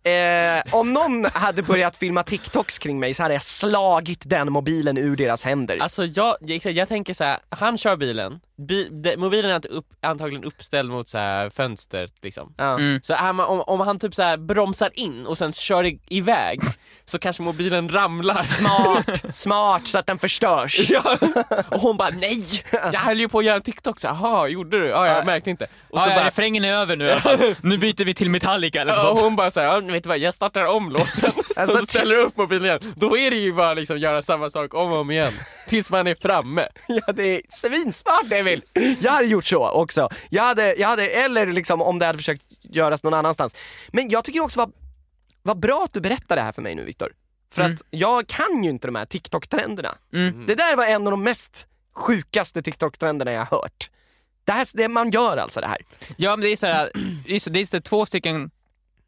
eh, om någon hade börjat filma TikToks kring mig så hade jag slagit den mobilen ur deras händer.
Alltså jag, jag, jag tänker så här, han kör bilen, Bi, de, mobilen är inte upp, antagligen uppställd mot så här fönstret liksom.
Ja.
Mm.
Så här, man- om, om han typ så här bromsar in och sen kör i, iväg så kanske mobilen ramlar.
Smart, [LAUGHS] smart så att den förstörs.
[LAUGHS] Ja. Och hon bara nej, jag höll ju på att göra en TikTok, så här, jaha gjorde du? Ja, jag märkte inte. Och
Och så
så
ja, bara,
bara,
refrängen är över nu i alla [LAUGHS] fall. Nu byter vi till Metallica eller något
och
sånt.
hon bara såhär, ja, vet du vad, jag startar om låten
Alltså,
och så ställer du upp mobilen igen. Då är det ju bara liksom göra samma sak om och om igen, tills man är framme.
Ja, det är svinsmart Emil! Jag hade gjort så också. Jag hade, jag hade, eller liksom om det hade försökt göras någon annanstans. Men jag tycker också vad, vad bra att du berättar det här för mig nu Viktor. För
Mm.
att jag kan ju inte de här TikTok-trenderna.
Mm.
Det där var en av de mest sjukaste TikTok-trenderna jag har hört. Det här, det man gör alltså det här.
Ja men det är [CLEARS THROAT] såhär, det är, så, det är så två stycken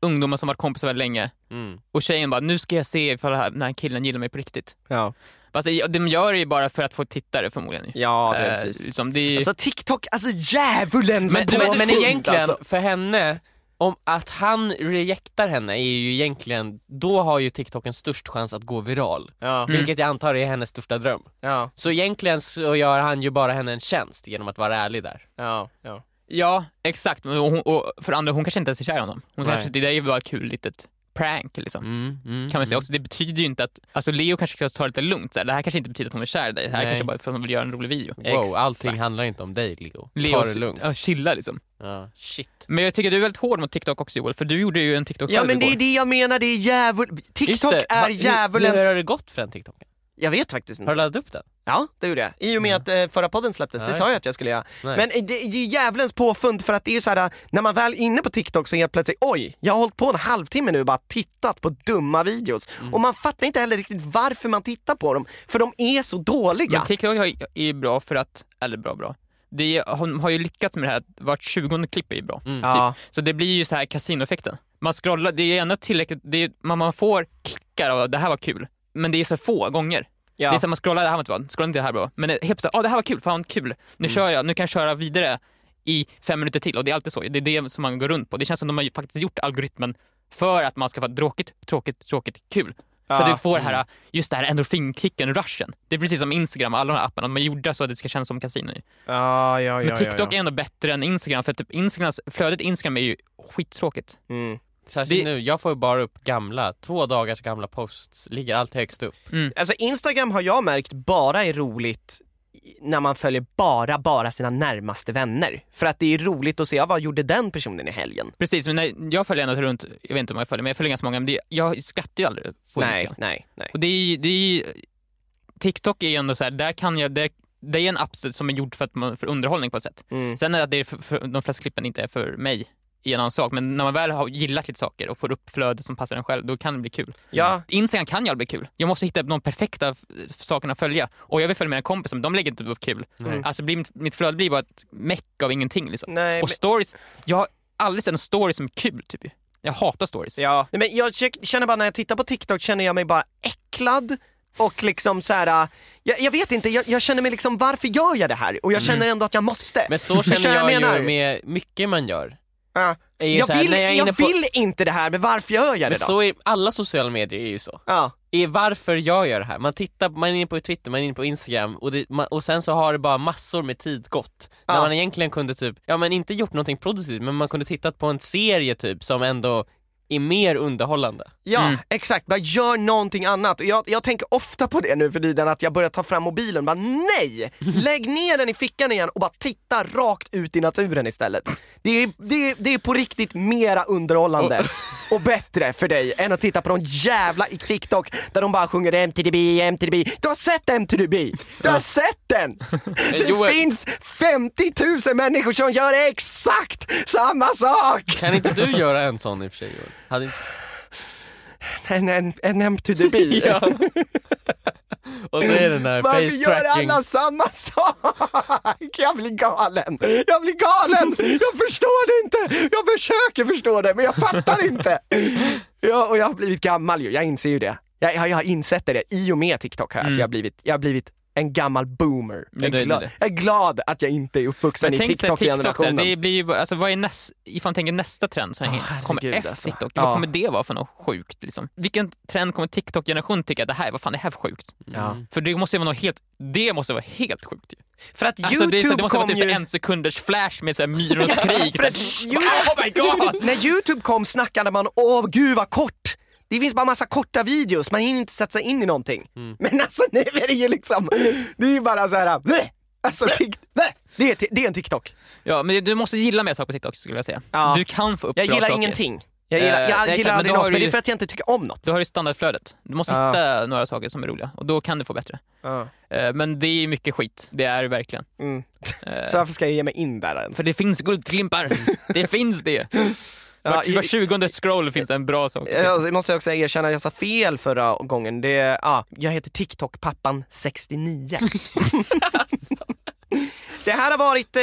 ungdomar som varit kompisar väldigt länge
Mm.
och tjejen bara, nu ska jag se ifall den här- den här killen gillar mig på riktigt.
Ja,
Fast det- de gör det ju bara för att få tittare förmodligen.
ja
Eh, liksom, det är,
Alltså TikTok, alltså djävulen som
Men, du, men,
påfund,
men egentligen,
alltså.
för henne, om att han rejectar henne är ju egentligen, då har ju TikTok en störst chans att gå viral.
Ja.
Vilket jag antar är hennes största dröm.
Ja,
Så egentligen så gör han ju bara henne en tjänst genom att vara ärlig där.
ja, ja.
Ja, exakt. Men hon, och för andra, hon kanske inte ens är kär i honom. Hon
Nej.
kanske, det där är ju bara ett kul litet prank liksom.
Mm, mm,
Kan man säga också. Det betyder ju inte att, alltså Leo kanske ska ta det lite lugnt. Så här. Det här kanske inte betyder att hon är kär i dig. Det här
Nej.
kanske bara är för att hon vill göra en rolig video.
Wow,
Exakt.
allting handlar inte om dig Leo.
Leo,
Ta det lugnt.
Ja, chilla liksom.
Ja. Shit.
Men jag tycker du är väldigt hård mot TikTok också Joel, för du gjorde ju en TikTok
Ja
själv
men det är
igår.
det jag menar, det är djävul... TikTok är djävulens...
Hur har det gått för den TikToken?
Jag vet faktiskt inte.
Har du laddat upp den?
Ja, det gjorde jag. I och med att eh, förra podden släpptes, det
Ja,
sa jag att jag skulle göra.
Nej.
Men eh, det det är ju djävulens påfund för att det är så här, eh, när man väl är inne på TikTok så helt plötsligt, oj, jag har hållit på en halvtimme nu och bara tittat på dumma videos.
Mm.
Och man fattar inte heller riktigt varför man tittar på dem, för de är så dåliga.
Men TikTok har- är ju bra för att, eller bra bra, det är, har, har ju lyckats med det här att vart tjugonde klipp är ju bra. Typ.
Ja.
Så det blir ju så här kasinoeffekten. Man scrollar, det är ändå tillräckligt, det är, man, man får kickar av att det här var kul, men det är så få gånger.
Ja.
Det är så här, man scrollar, det här var inte bra, scrollar inte det här bra, men helt plötsligt, ja ah, det här var kul, fan kul,
Mm.
nu kör jag, nu kan jag köra vidare i fem minuter till och det är alltid så, det är det som man går runt på. Det känns som de har ju faktiskt gjort algoritmen för att man ska få tråkigt, tråkigt, tråkigt, kul. Så
Ja. Mm.
du får det här, eh, just det här endorfinkicken, rushen. Det är precis som Instagram och alla de här apparna, de är gjorda så att det ska kännas som kasino. ju.
Ja, ja,
Men TikTok är ändå bättre än Instagram för typ Instagrams, flödet i Instagram är ju skittråkigt.
Mm.
Särskilt
Det-
nu, jag får ju bara upp gamla, två dagars gamla posts, ligger allt högst upp.
Alltså Instagram har jag märkt bara är roligt i- när man följer bara, bara sina närmaste vänner. För att det är roligt att se, ja, vad gjorde den personen i helgen?
Precis, men när jag följer ändå runt, jag vet inte om jag följer, men jag följer ganska många, men det, jag skrattar ju aldrig på
nej,
Instagram.
nej, nej.
Och det är, ju- det är, ju- TikTok är ju ändå så här, där kan jag, där, det är en app som är gjord för, att man, för underhållning på ett sätt.
Mm.
Sen är det att det är för, för, de flesta klippen inte är för mig i en annan sak, men när man väl har gillat lite saker och får upp flödet som passar en själv, då kan det bli kul.
Ja,
Instagram kan ju aldrig bli kul. Jag måste hitta de perfekta f- sakerna att följa. Och jag vill följa mina kompisar, men de lägger inte upp kul. Alltså blir, mitt, mitt flöde blir bara ett meck av ingenting. Liksom.
nej.
Och stories, jag har aldrig sett en story som är kul. Typ. Jag hatar stories.
Ja. Nej, men jag kö- känner bara när jag tittar på TikTok känner jag mig bara äcklad och liksom så här. äh, Jag, jag vet inte, jag, jag känner mig liksom varför gör jag det här? Och jag känner ändå att jag måste.
Mm. Men [LAUGHS] så
Förstår
känner
vad
jag,
menar?
ju med mycket man gör.
Ja.
Är ju
Jag,
så här,
vill,
när jag är
jag,
inne på-
vill inte det här, men varför gör jag det
Men
då?
så är alla sociala medier är ju så.
Ja.
Är varför jag gör det här. Man tittar, man är inne på Twitter, man är inne på Instagram och, det, man, och sen så har det bara massor med tid gått. När
Ja.
man egentligen kunde typ, ja men inte gjort någonting produktivt men man kunde tittat på en serie typ som ändå är mer underhållande.
Ja,
Mm.
exakt. Bara gör någonting annat. Och Jag, jag tänker ofta på det nu för tiden, att jag börjar ta fram mobilen. Bara nej! Lägg ner den i fickan igen och bara titta rakt ut i naturen istället. Det är, det är, det är på riktigt mera underhållande och bättre för dig än att titta på de jävla i TikTok där de bara sjunger MTDB, MTDB. Du har sett MTDB! Du har sett den! Det
Joel-
finns 50 000 människor som gör exakt samma sak!
Kan
[LAUGHS]
inte du göra en sån i och för sig Joel? Hade inte-
En, en, en MTDB.
[LAUGHS] Och så är den där
Varför
face
gör
tracking.
alla samma sak? Jag blir galen! Jag blir galen! Jag förstår det inte! Jag försöker förstå det, men jag fattar inte! Ja, och jag har blivit gammal ju, jag inser ju det. Jag, jag, jag har insett det i och med TikTok här, att jag har blivit, jag har blivit en gammal boomer. Jag är,
det är
glad,
det.
jag är glad att jag inte är uppvuxen
Men
i
tänk såhär TikTok, såhär,
TikTok-generationen.
det blir ju, bara- alltså, vad är näst, ifall man tänker nästa trend som
Åh,
hänger- kommer
herregud,
efter
alltså.
TikTok,
Ja.
vad kommer det vara för något sjukt? Liksom? Vilken trend kommer TikTok-generationen tycka, det här, vad fan är det här för sjukt?
Ja.
För det måste ju vara något helt, det måste vara helt sjukt ju.
För att
Alltså, det, är så, det
YouTube
måste
kom
vara typ
ju...
så en sekunders flash med såhär myrornas
[LAUGHS]
krig.
För att
Så här,
YouTube-
oh my god!
När Youtube kom snackade man åh gud vad kort! Det finns bara massa korta videos, man hinner inte sätta sig in i någonting.
Mm.
Men alltså nu är det ju liksom, det är ju bara så här, bleh! alltså tikt, bleh! det, är, ti- det är en TikTok.
Ja, men du måste gilla mer saker på TikTok skulle jag säga.
Ja.
Du kan få upp
Jag
bra
gillar
saker.
ingenting. Jag gillar, jag
Eh, nej, exakt,
gillar
men
aldrig
då har
något,
du
men det är
ju-
för att jag inte tycker om något.
Du har ju standardflödet. Du måste
Ja.
hitta några saker som är roliga och då kan du få bättre. Eh, Men det är mycket skit, det är det verkligen.
Mm.
Eh.
Så varför ska jag ge mig in där ens?
För det finns guldklimpar, det finns det. Var,
i- [LAUGHS]
var 20 scroll finns det en bra sak. att se.
Jag jag Alltså, måste också erkänna, jag sa fel förra gången. Det, ah, jag heter TikTok-pappan69. det här har varit... Eh,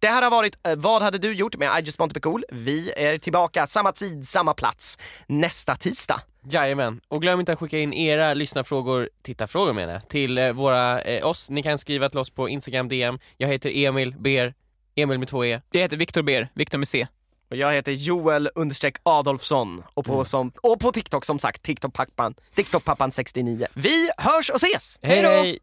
det här har varit eh, Vad hade du gjort med I just want to be cool. Vi är tillbaka samma tid, samma plats nästa tisdag.
Jajamän, och glöm inte att skicka in era lyssnarfrågor, tittarfrågor menar jag, till eh, våra, eh, oss. Ni kan skriva till oss på Instagram DM, jag heter Emil Ber, Emil med två E.
Jag heter Viktor Ber, Viktor med C.
Och jag heter Joel understreck Adolfsson och på, som, och på TikTok som sagt TikTok-pappan TikTok-pappan69. Vi hörs och ses!
Hej då!